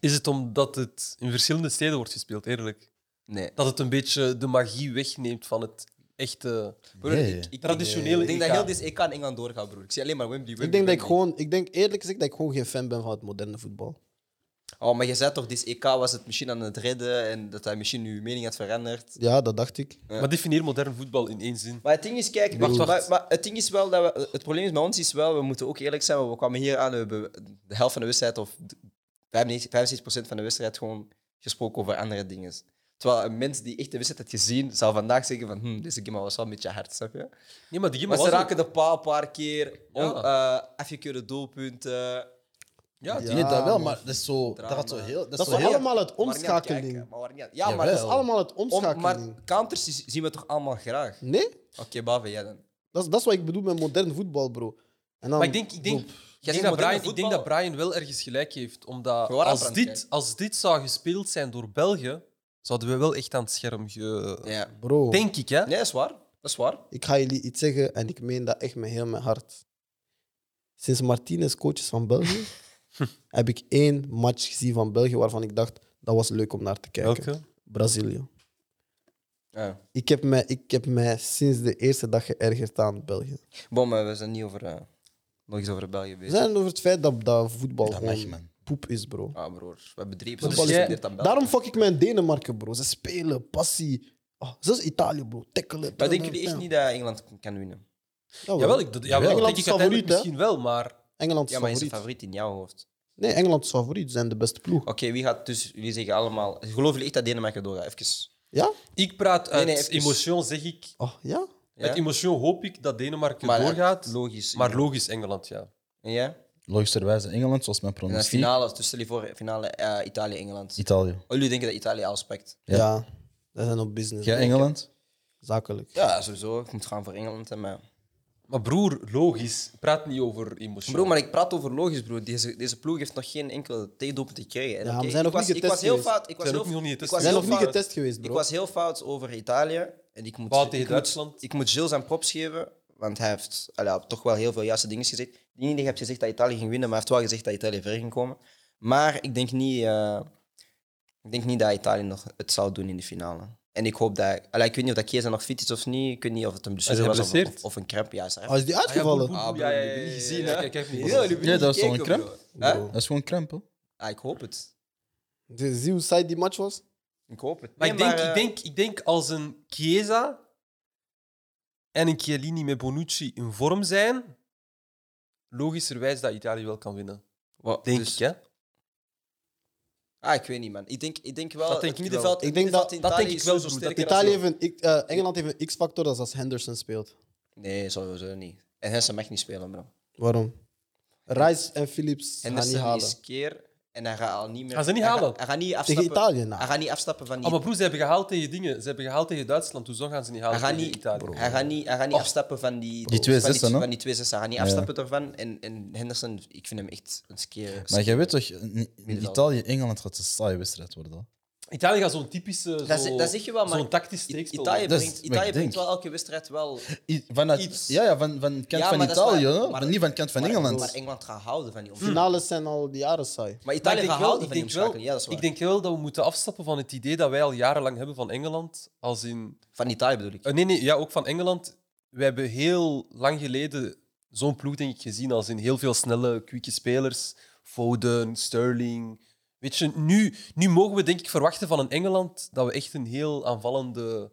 S3: Is het omdat het in verschillende steden wordt gespeeld, eerlijk?
S5: Nee.
S3: Dat het een beetje de magie wegneemt van het echte...
S5: Broer,
S6: Nee.
S5: ik, ik,
S3: Traditionele
S5: Ik denk
S3: EK.
S5: dat heel dit EK in Engeland doorgaat, broer. Ik zie alleen maar Wembley, Wembley,
S4: Ik denk dat ik
S5: Wembley.
S4: gewoon, ik denk eerlijk gezegd dat ik gewoon geen fan ben van het moderne voetbal.
S5: Oh, maar je zei toch, dit EK was het misschien aan het redden en dat hij misschien uw mening had veranderd.
S4: Ja, dat dacht ik.
S3: Maar definieer modern voetbal in één zin.
S5: Maar het ding is, kijk,
S3: Wacht,
S5: maar-
S3: wacht.
S5: maar het ding is wel dat we, het probleem is met ons is wel, we moeten ook eerlijk zijn, want we kwamen hier aan, we hebben de helft van de wedstrijd of 95 65% van de wedstrijd gewoon gesproken over andere dingen. Terwijl een mens die echt de wedstrijd had gezien, zou vandaag zeggen van, hm, deze game was wel een beetje hard, snap je?
S3: Nee, maar die game
S5: Maar ze
S3: was ook-
S5: raken de paal een paar keer, on, eh, afgekeurde doelpunten.
S3: Ja, die-
S6: nee, dat wel,
S4: man.
S6: maar dat is zo. Dat,
S5: Drama.
S6: gaat zo heel, dat
S4: Dat
S6: is
S4: is
S6: zo heel-
S4: allemaal het
S5: Waar niet aan het
S4: omschakeling.
S5: kijken, maar waar niet aan- Ja, maar,
S4: Dat is
S6: Jawel.
S4: allemaal het
S5: om, maar
S4: omschakeling.
S5: counters z- zien we toch allemaal graag?
S4: Nee?
S5: Oké, Bave, jij dan.
S4: Dat is, dat is wat ik bedoel met modern voetbal, bro. En dan,
S3: Maar ik denk, ik denk, ik
S5: zegt
S3: denk, dat,
S5: moderne
S3: Brian, ik denk dat
S5: voetballer.
S3: Brian wel ergens gelijk heeft. Omdat
S5: Gewoon aan
S3: als
S5: het
S3: dit,
S5: kijken.
S3: als dit zou gespeeld zijn door België, zouden we wel echt aan het scherm ge...
S5: Ja.
S4: Bro,
S3: Denk ik, hè?
S5: Nee, dat is waar. Dat is waar.
S4: ik ga jullie iets zeggen en ik meen dat echt met heel mijn hart. Sinds Martinez coach is van België, heb ik één match gezien van België waarvan ik dacht, dat was leuk om naar te kijken.
S3: Welke?
S4: Brazilië.
S5: Ja.
S4: Ik heb, mij, ik heb mij sinds de eerste dag geërgerd aan België.
S5: Bom, maar we zijn niet over, eh, nog eens over België
S4: We
S5: bezig.
S4: zijn over het feit dat, dat voetbal
S6: Dat mag,
S4: gewoon
S6: man.
S4: poep is, bro.
S5: Ah, broer. We hebben drie
S4: Voetbal
S5: episodes
S4: is-
S5: gestudeerd aan België.
S4: dus Daarom fuck ik mijn Denemarken, bro. Ze spelen, passie. Ah, zelfs Italië, bro. Tackelen.
S5: Maar denken jullie echt niet dat Engeland k- kan winnen?
S4: Jawel,
S3: Jawel, ik, dat- jawel, dat
S4: Engeland
S3: denk
S4: is
S3: ik
S4: favoriet,
S3: uiteindelijk
S4: hè?
S3: misschien wel, maar...
S4: Engeland is
S5: Ja, maar is de
S4: favoriet.
S5: favoriet in jouw hoofd?
S4: Nee, Engeland is favoriet. Ze zijn de beste ploeg.
S5: Oké, wie gaat dus... Jullie zeggen allemaal... Geloven jullie echt dat Denemarken doorgaat? Even.
S4: Ja?
S3: Ik praat uit
S5: nee, even-
S3: emotion, zeg ik.
S4: Oh, ja?
S5: Ja?
S3: Uit emotion hoop ik dat Denemarken
S5: Maar, eh,
S3: doorgaat.
S5: Logisch.
S3: maar logisch, Engeland, ja.
S5: En jij?
S6: Logischerwijze Engeland, zoals mijn
S5: En de
S6: pronostiek.
S5: finale, dus stel je voor, finale eh, Italië-Engeland.
S6: Italië.
S5: Oh, jullie denken dat Italië alles pakt?
S6: Ja.
S4: Ja. Wij zijn op business.
S6: Jij
S4: bro.
S6: Engeland?
S4: Zakelijk.
S5: Ja, sowieso. Ik moet gaan voor Engeland. eh, Hè, maar...
S3: Maar broer, logisch. Praat niet over emotion.
S5: Bro, maar ik praat over logisch, bro. Deze, deze ploeg heeft nog geen enkel tegendoelpunt gekregen. En
S4: Ja, maar
S5: oké,
S4: we zijn
S5: ik
S4: nog
S5: was,
S4: niet
S5: Ik was
S4: getest
S5: heel
S4: geweest.
S5: fout. Ik was
S3: zijn
S5: heel,
S3: ook nog niet
S5: ik
S3: getest
S5: was
S4: We
S5: heel
S4: zijn nog niet
S5: fout.
S4: getest geweest,
S5: Ik
S4: bro.
S5: was heel fout over Italië. En ik moet,
S3: Fout
S5: ik
S3: tegen
S5: moet-
S3: Duitsland.
S5: Ik moet Gilles zijn props geven, want hij heeft allee, hij heeft toch wel heel veel juiste dingen gezegd. Die niet heeft gezegd dat Italië ging winnen, maar hij heeft wel gezegd dat Italië ver ging komen. Maar ik denk niet, eh, ik denk niet dat Italië nog het zou doen in de finale. En ik hoop dat... allee, ik weet niet of dat Chiesa nog fit is of niet. Ik weet niet of het een
S3: Is
S5: blessure
S3: hij
S5: was of,
S3: geblesseerd?
S5: of, of een kramp. Ja, is hij-
S4: Ah, is die
S3: Ah, ja, boel, boel,
S4: uitgevallen?
S3: boel.
S5: Ah, bro,
S3: ja, ja,
S5: jullie hebben
S3: ja,
S5: niet
S3: ja,
S5: gezien,
S3: ja,
S5: hè?
S3: kijk, kijk,
S5: Ja, jullie hebben
S6: Ja,
S5: niet
S6: dat is wel een
S5: gekeken,
S6: kramp.
S5: bro. Hè?
S4: Bro.
S6: Dat is gewoon krempel.
S5: Ah, ik hoop het.
S4: Zie zie hoe saai die match was?
S5: Ik hoop het.
S3: Maar,
S5: Nee,
S3: ik, denk,
S5: eh,
S3: ik, denk, ik denk als een Chiesa en een Chiellini met Bonucci in vorm zijn, logischerwijs dat Italië wel kan winnen.
S5: wa-
S3: Denk
S5: dus-
S3: ik, hè?
S5: Ah, ik weet niet, man. Ik denk, ik denk wel...
S3: Dat denk
S5: het
S3: ik
S5: middenveld,
S4: wel.
S5: het
S4: Ik denk
S5: middenveld
S4: dat-
S5: in
S3: dat
S5: Italië
S3: denk
S5: is
S3: ik wel
S5: sowieso
S3: zo
S5: sterker
S3: sterker
S5: als-
S4: Italië heeft een, ik- eh, Engeland heeft een X-factor dat is als Henderson speelt.
S5: Nee, sowieso niet. En Hensen mag niet spelen, bro.
S4: Waarom? Rice en Philips gaan niet
S5: Henderson
S4: halen.
S5: is keer En hij gaat al niet meer...
S3: Gaan ze niet
S5: hij
S3: halen?
S5: gaat- Hij gaat niet
S4: Tegen
S5: afstappen,
S4: Italië na.
S5: hij gaat niet afstappen van die...
S3: Oh, maar broer, ze hebben gehaald tegen dingen. Ze hebben gehaald tegen Duitsland, dus dan gaan ze niet halen
S5: Hij gaat
S3: tegen
S5: niet,
S3: Italië. Oh.
S5: hij gaat niet, hij gaat niet afstappen van die,
S6: Die twee
S5: van
S6: zessen, hè?
S5: van die twee zessen. Hij gaat niet afstappen daarvan. En, en Henderson, ik vind hem echt een keer...
S6: Maar jij weet toch, in- in
S5: Middenveld.
S6: Italië-Engeland gaat een saaie wedstrijd worden. hè?
S3: Italië gaat zo'n typische, zo,
S5: Dat zeg- dat zeg je wel, maar
S3: zo'n tactisch
S5: I-
S3: steekspel.
S5: Italië
S6: Dat is
S5: brengt,
S6: wat
S5: Italië
S6: ik
S5: brengt
S6: denk.
S5: wel elke wedstrijd wel...
S6: I- Van het,
S5: Iets.
S6: Ja, ja, van, van kant
S5: Ja,
S6: van
S5: maar dat is waar.
S6: Italië, hè?
S5: Maar-
S6: Maar niet van kant van
S5: maar-
S6: Engeland.
S5: Maar Engeland gaat houden van die omschakeling.
S4: Finales zijn al die jaren saai.
S5: Maar
S3: Hmm. Nou, Maar ik
S5: Italië
S3: denk,
S5: gaat
S3: wel,
S5: houden
S3: ik,
S5: van die
S3: denk wel,
S5: omschakeling. Ja, dat is waar.
S3: ik denk wel dat we moeten afstappen van het idee dat wij al jarenlang hebben van Engeland. Als in,
S5: Van Italië bedoel ik.
S3: eh, nee, nee, ja, ook van Engeland. We hebben heel lang geleden zo'n ploeg denk ik, gezien als in heel veel snelle, kwieke spelers. Foden, Sterling. Weet je, nu, nu mogen we denk ik verwachten van een Engeland dat we echt een heel aanvallende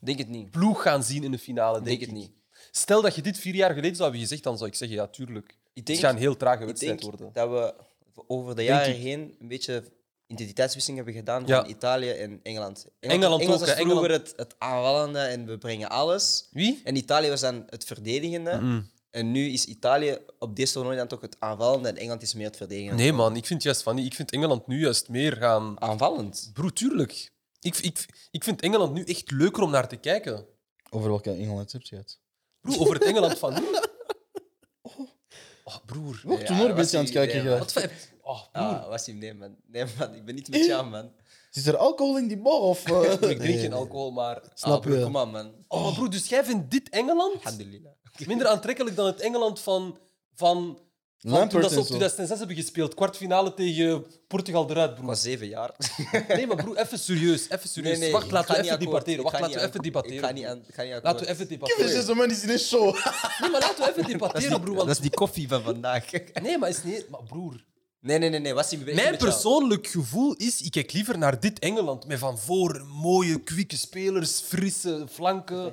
S5: Denk het niet.
S3: ploeg gaan zien in de finale. Denk,
S5: Denk
S3: ik
S5: het niet.
S3: Stel dat je dit vier jaar geleden zou hebben gezegd, dan zou ik zeggen, ja, tuurlijk.
S5: Ik
S3: het
S5: denk,
S3: gaat een heel trage
S5: ik
S3: wedstrijd
S5: denk
S3: worden.
S5: dat we over de jaren heen een beetje identiteitswisseling hebben gedaan
S3: Ja.
S5: van Italië en Engeland.
S3: Engeland ook,
S5: was
S3: hè,
S5: vroeger Het, het aanvallende en we brengen alles.
S3: Wie?
S5: En Italië was dan het verdedigende. En nu is Italië op deze toernooi dan toch het aanvallende en Engeland is meer het verdedigende.
S3: Nee, man, ik vind juist van niet. Ik vind Engeland nu juist meer gaan.
S5: Aanvallend.
S3: Broer, tuurlijk. Ik, ik, ik vind Engeland nu echt leuker om naar te kijken.
S6: Over welke Engeland heb je het?
S3: Broer, over het Engeland van nu. Oh, broer.
S6: Ook toen hoor, een beetje aan het kijken.
S5: Ja,
S6: ja.
S3: Wat voor... Oh, broer.
S5: Ah, was hij? Nee, man. Nee, man. Ik ben niet met jou, man.
S6: Zit er alcohol in die bal? Of, eh?
S3: Broer, ik drink geen alcohol, maar...
S5: Ah,
S4: Snap
S5: broer,
S4: je?
S5: Kom aan, man.
S3: Oh, maar broer, dus jij vindt dit Engeland
S5: Alhamdulillah.
S3: minder aantrekkelijk dan het Engeland van... van van toen
S6: Lampert
S3: dat ze
S6: en
S3: op
S6: zo.
S3: 2006 hebben gespeeld. Kwartfinale tegen Portugal eruit,
S5: Ik
S3: broer.
S5: was zeven jaar.
S3: Nee, maar broer, even serieus. Even serieus. Wacht,
S5: ik
S3: laten
S5: ga
S3: we
S5: niet
S3: even
S5: akkoord.
S3: debatteren.
S5: Ik
S3: Wacht,
S5: ga
S3: laten we
S5: niet
S3: even
S5: akkoord.
S3: debatteren.
S5: Ik ga niet, aan- ik ga niet akkoord.
S3: Laten we even
S6: Kevin
S3: debatteren.
S6: is een man die is in een show.
S3: Nee, maar laten we even debatteren, broer.
S5: Dat
S3: Want...
S5: is die koffie van vandaag.
S3: Nee, maar is niet... Maar broer...
S5: Nee, nee, nee. nee. Was die beweging
S3: Mijn
S5: met jou?
S3: persoonlijk gevoel is, ik kijk liever naar dit Engeland. Met van voor mooie, kwieke spelers, frisse flanken.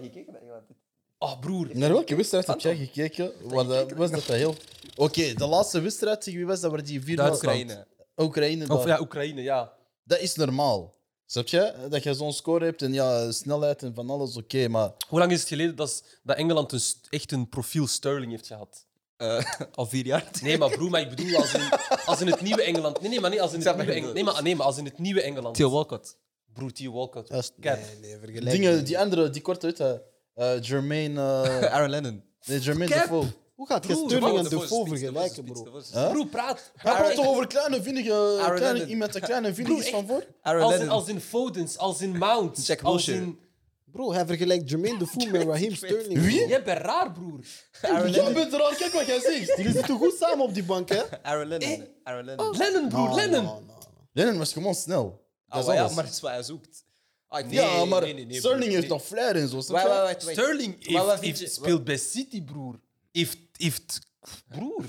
S3: Oh, broer.
S6: Naar welke wedstrijd heb jij gekeken? Waar dat- was dat dat heel... Oké, de laatste wedstrijd tegen wie was dat? Waar die vier
S3: Duitsland.
S5: Oekraïne.
S6: Oekraïne.
S3: Of
S6: daar.
S3: ja, Oekraïne, ja.
S6: Dat is normaal. Snap je? Dat je zo'n score hebt en ja, snelheid en van alles, oké, maar...
S3: Hoe lang is het geleden dat, s- dat Engeland een st- echt een profiel Sterling heeft gehad?
S5: Eh, al vier jaar.
S3: Nee, maar broer, maar ik bedoel als in, als in het nieuwe Engeland. Nee, nee, maar, niet als in het
S5: Snap
S3: nieuwe
S5: wat je
S3: Engeland. Nee, maar, nee, maar als in het nieuwe Engeland.
S5: Theo Walcott.
S3: Broer, Theo Walcott.
S4: Dat is-
S3: Cat.
S4: Nee, nee, vergelijk
S6: Dingen,
S4: niet.
S6: die andere, die korte uit, hè. Eh, Jermaine... eh,
S5: Aaron Lennon.
S6: nee, Jermaine
S3: Cap.
S6: Defoe.
S4: Hoe gaat je
S3: Broer,
S4: Sterling en
S3: de
S4: Defoe vergelijken, bro?
S6: Huh?
S3: Broer, praat.
S6: Hij praat toch over kleine, vinnige...
S5: Aaron eh,
S6: Kleine,
S5: Lennon.
S6: iemand dat klein en vinnig is van voor?
S5: Aaron
S3: Als in,
S5: Lennon.
S3: als in Fodens, als in Mount.
S5: Jack
S3: als
S5: Wilshere.
S3: in...
S4: Bro, hij vergelijkt Jermaine Defoe met Raheem Sterling. bro.
S3: Jij bent raar, broer.
S5: Aaron
S6: Jij
S5: Lennon.
S6: bent raar, kijk wat jij zegt.
S4: Jullie zitten goed samen op die bank, hè?
S5: Aaron Lennon. Aaron Lennon.
S3: Lennon, broer,
S4: No,
S3: Lennon.
S4: no, no.
S6: Lennon was gewoon snel.
S5: Ah,
S6: Dat is
S5: maar ja,
S6: alles.
S5: maar dat is wat hij zoekt. Ah, ik-
S6: ja, maar
S3: nee, nee,
S5: eh,
S3: nee,
S6: Sterling
S3: broer,
S6: heeft
S3: nee.
S6: toch flair en zo.
S5: Wacht,
S6: snap je?
S5: wacht, wacht, wacht.
S3: Sterling heeft,
S5: Maar wat vind
S3: heeft
S5: je-
S3: speelt bij City, broer. Heeft, heeft broer.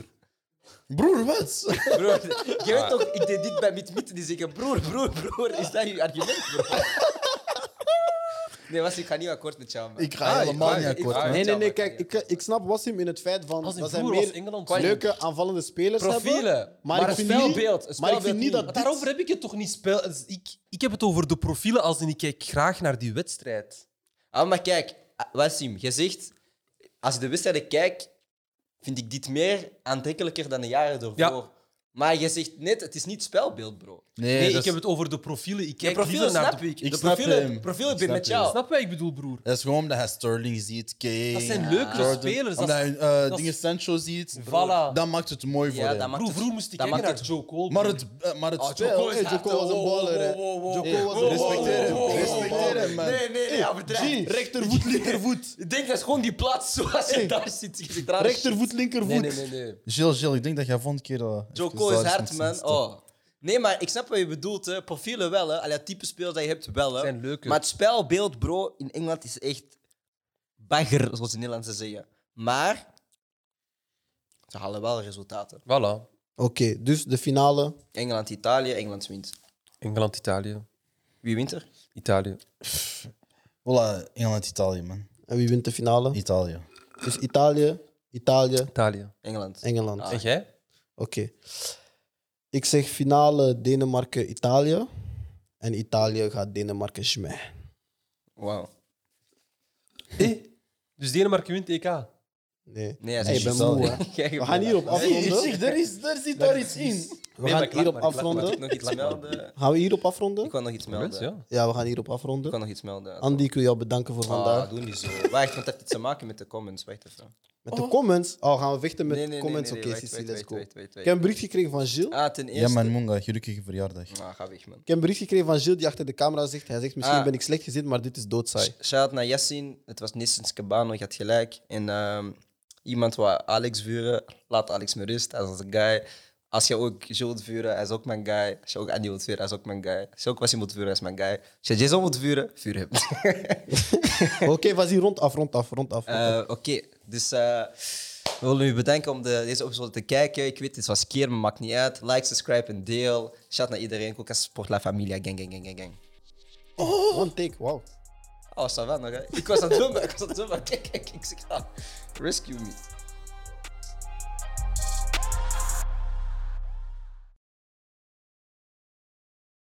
S6: Broer, wat?
S2: Broer, je weet toch, ik deed dit bij Mitmit, die zeggen, broer, broer, broer, is dat je argument, bro?
S5: Nee, was ik ga niet akkoord met jou, man.
S6: Ik ga helemaal niet akkoord. man.
S4: Nee, nee, nee, kijk, ik, eh, ik snap Wassim in het feit van
S3: Als in
S4: dat zij
S3: broer was
S4: meer
S3: Engeland
S4: leuke aanvallende spelers hebben.
S2: Profielen. Maar
S4: ik
S2: een
S4: vind
S2: spelbeeld,
S4: niet,
S2: een
S4: maar ik vind
S2: spelbeeld
S4: niet
S2: niet.
S4: dat dit...
S3: Daarover heb ik het toch niet spel. dus Ik, ik heb het over de profielen als in ik kijk graag naar die wedstrijd.
S5: Ah, maar kijk, ah, Wassim, je zegt, als ik de wedstrijden kijk, vind ik dit meer aantrekkelijker dan de jaren ervoor.
S3: Ja.
S5: Maar je zegt net, het is niet spelbeeld, bro.
S3: Nee,
S6: dat
S3: ik
S6: is-
S3: heb het over de profielen. Ik
S5: De
S3: kijk
S5: profielen
S3: liever naar
S5: snap
S3: de...
S5: ik.
S6: Ik
S5: De
S6: snap
S5: profielen,
S6: hem.
S5: profielen
S6: Ik
S5: ben
S6: snap
S5: met jou.
S3: Snap je wat ik bedoel, broer?
S6: Dat is gewoon omdat hij Sterling ziet, Kane.
S3: Dat zijn leukere
S6: Jordan.
S3: spelers,
S6: Omdat
S3: dat
S6: hij
S3: is-
S6: eh,
S3: is-
S6: dingen Sancho ziet.
S3: Voilà.
S6: Dat maakt het mooi voor
S5: Ja,
S6: hem.
S5: dat maakt
S3: Broer,
S5: het-
S3: vroeger moest ik
S5: dat
S3: kijken
S5: maakt
S3: naar Joe Cole.
S6: Maar
S3: broer.
S6: het, eh, maar het
S3: Oh,
S6: spel...
S4: Joko is een baller, hè. Joko was
S6: Hey,
S4: een
S6: Respecteer
S4: baller.
S6: hem, respecteer hem, man.
S5: Nee, nee, nee, overdrijf.
S4: Rechtervoet, linkervoet.
S5: Ik denk dat is gewoon die plaats zoals je daar zit. Je zit daar-
S4: Rechtervoet, linkervoet.
S3: Nee, nee, nee. nee.
S6: Gilles, Gilles, ik denk dat jij volgende keer... eh, even
S5: Joko is
S6: daar
S5: hard,
S6: eens
S5: man.
S6: moet staan.
S5: Oh. Nee, maar ik snap wat je bedoelt. Hè. Profielen wel, hè. Allee, type spelers dat je hebt wel. Hè.
S3: Zijn leuke.
S5: Maar het spelbeeld, bro, in Engeland is echt bagger, zoals de Nederlanders zeggen. Maar ze halen wel resultaten.
S3: Voilà.
S4: Oké, dus de finale.
S5: Engeland-Italië, Engeland wint.
S3: Engeland, Italië.
S5: Wie wint er?
S3: Italië. Oh.
S6: Voilà, Engeland-Italië, man.
S4: En wie wint de finale?
S6: Italië.
S4: Dus Italië, Italië,
S3: Italië.
S5: Engeland.
S4: Engeland.
S5: Ah.
S4: Oké.
S3: En jij?
S4: Ik zeg finale Denemarken, Italië. En Italië gaat Denemarken schmij.
S5: Wauw.
S3: Eh? Dus Denemarken wint EK.
S4: Nee.
S5: Nee, hij
S4: Hey, ik
S5: is
S4: ben
S5: juist.
S4: moe, hè.
S5: Jij
S4: We gaan hierop
S6: Zie,
S4: afronden.
S6: zie, er, is, er zit daar iets in.
S4: We gaan hierop
S5: Ik
S4: afronden.
S5: nog iets melden.
S4: Gaan we hierop afronden?
S5: Ik wil nog iets melden. Ik
S3: Ja.
S4: Ja, we gaan hierop afronden.
S5: wil nog iets melden.
S4: Andy, ik wil jou bedanken voor
S5: Ah,
S4: vandaag.
S5: doe niet zo. Wacht, want het heeft iets te maken met de comments. Wacht even.
S4: Met de comments. Oh, gaan we vechten met
S5: Nee, nee, nee,
S4: comments?
S5: nee,
S4: Oké,
S5: nee,
S4: Sissi,
S5: wait,
S4: let's
S5: wait,
S4: go.
S5: wait, wait, wait.
S4: Ik heb een bericht gekregen van Gilles.
S5: Ah, ten
S6: Ja,
S5: eerste.
S6: mijn Munga, gelukkige verjaardag.
S5: Ah, ga weg, man.
S4: Ik heb een bericht gekregen van Gilles die achter de camera zegt: Hij zegt, misschien
S5: Ah.
S4: ben ik slecht gezien, maar dit is doodsaai.
S5: Shout naar Yassin. Het was Nissens Cabano, je had gelijk. En ehm, iemand waar Alex vuren, laat Alex me rust. Hij is een guy. Als je ook Jules wilt vuren, hij is ook mijn guy. Als je ook Andy wilt vuren, hij is ook mijn guy. Als je ook Wassim wilt vuren, hij is mijn guy. Als je Jason wilt vuren, vuur hem.
S4: Oké, was hier rond af, rond af, rond af. rond af.
S5: Eh, Oké, dus eh, we willen u bedanken om de, deze episode te kijken. Ik weet, het was keer, maar maakt niet uit. Like, subscribe en deel. Shout naar iedereen. Kokas Sport La Familia. Gang, gang, gang, gang, gang.
S4: One take, wauw.
S5: Oh, ça va nog, hè? Ik was aan het doen, maar ik was aan het doen, maar kijk, kijk, ik zeg, ah, rescue me.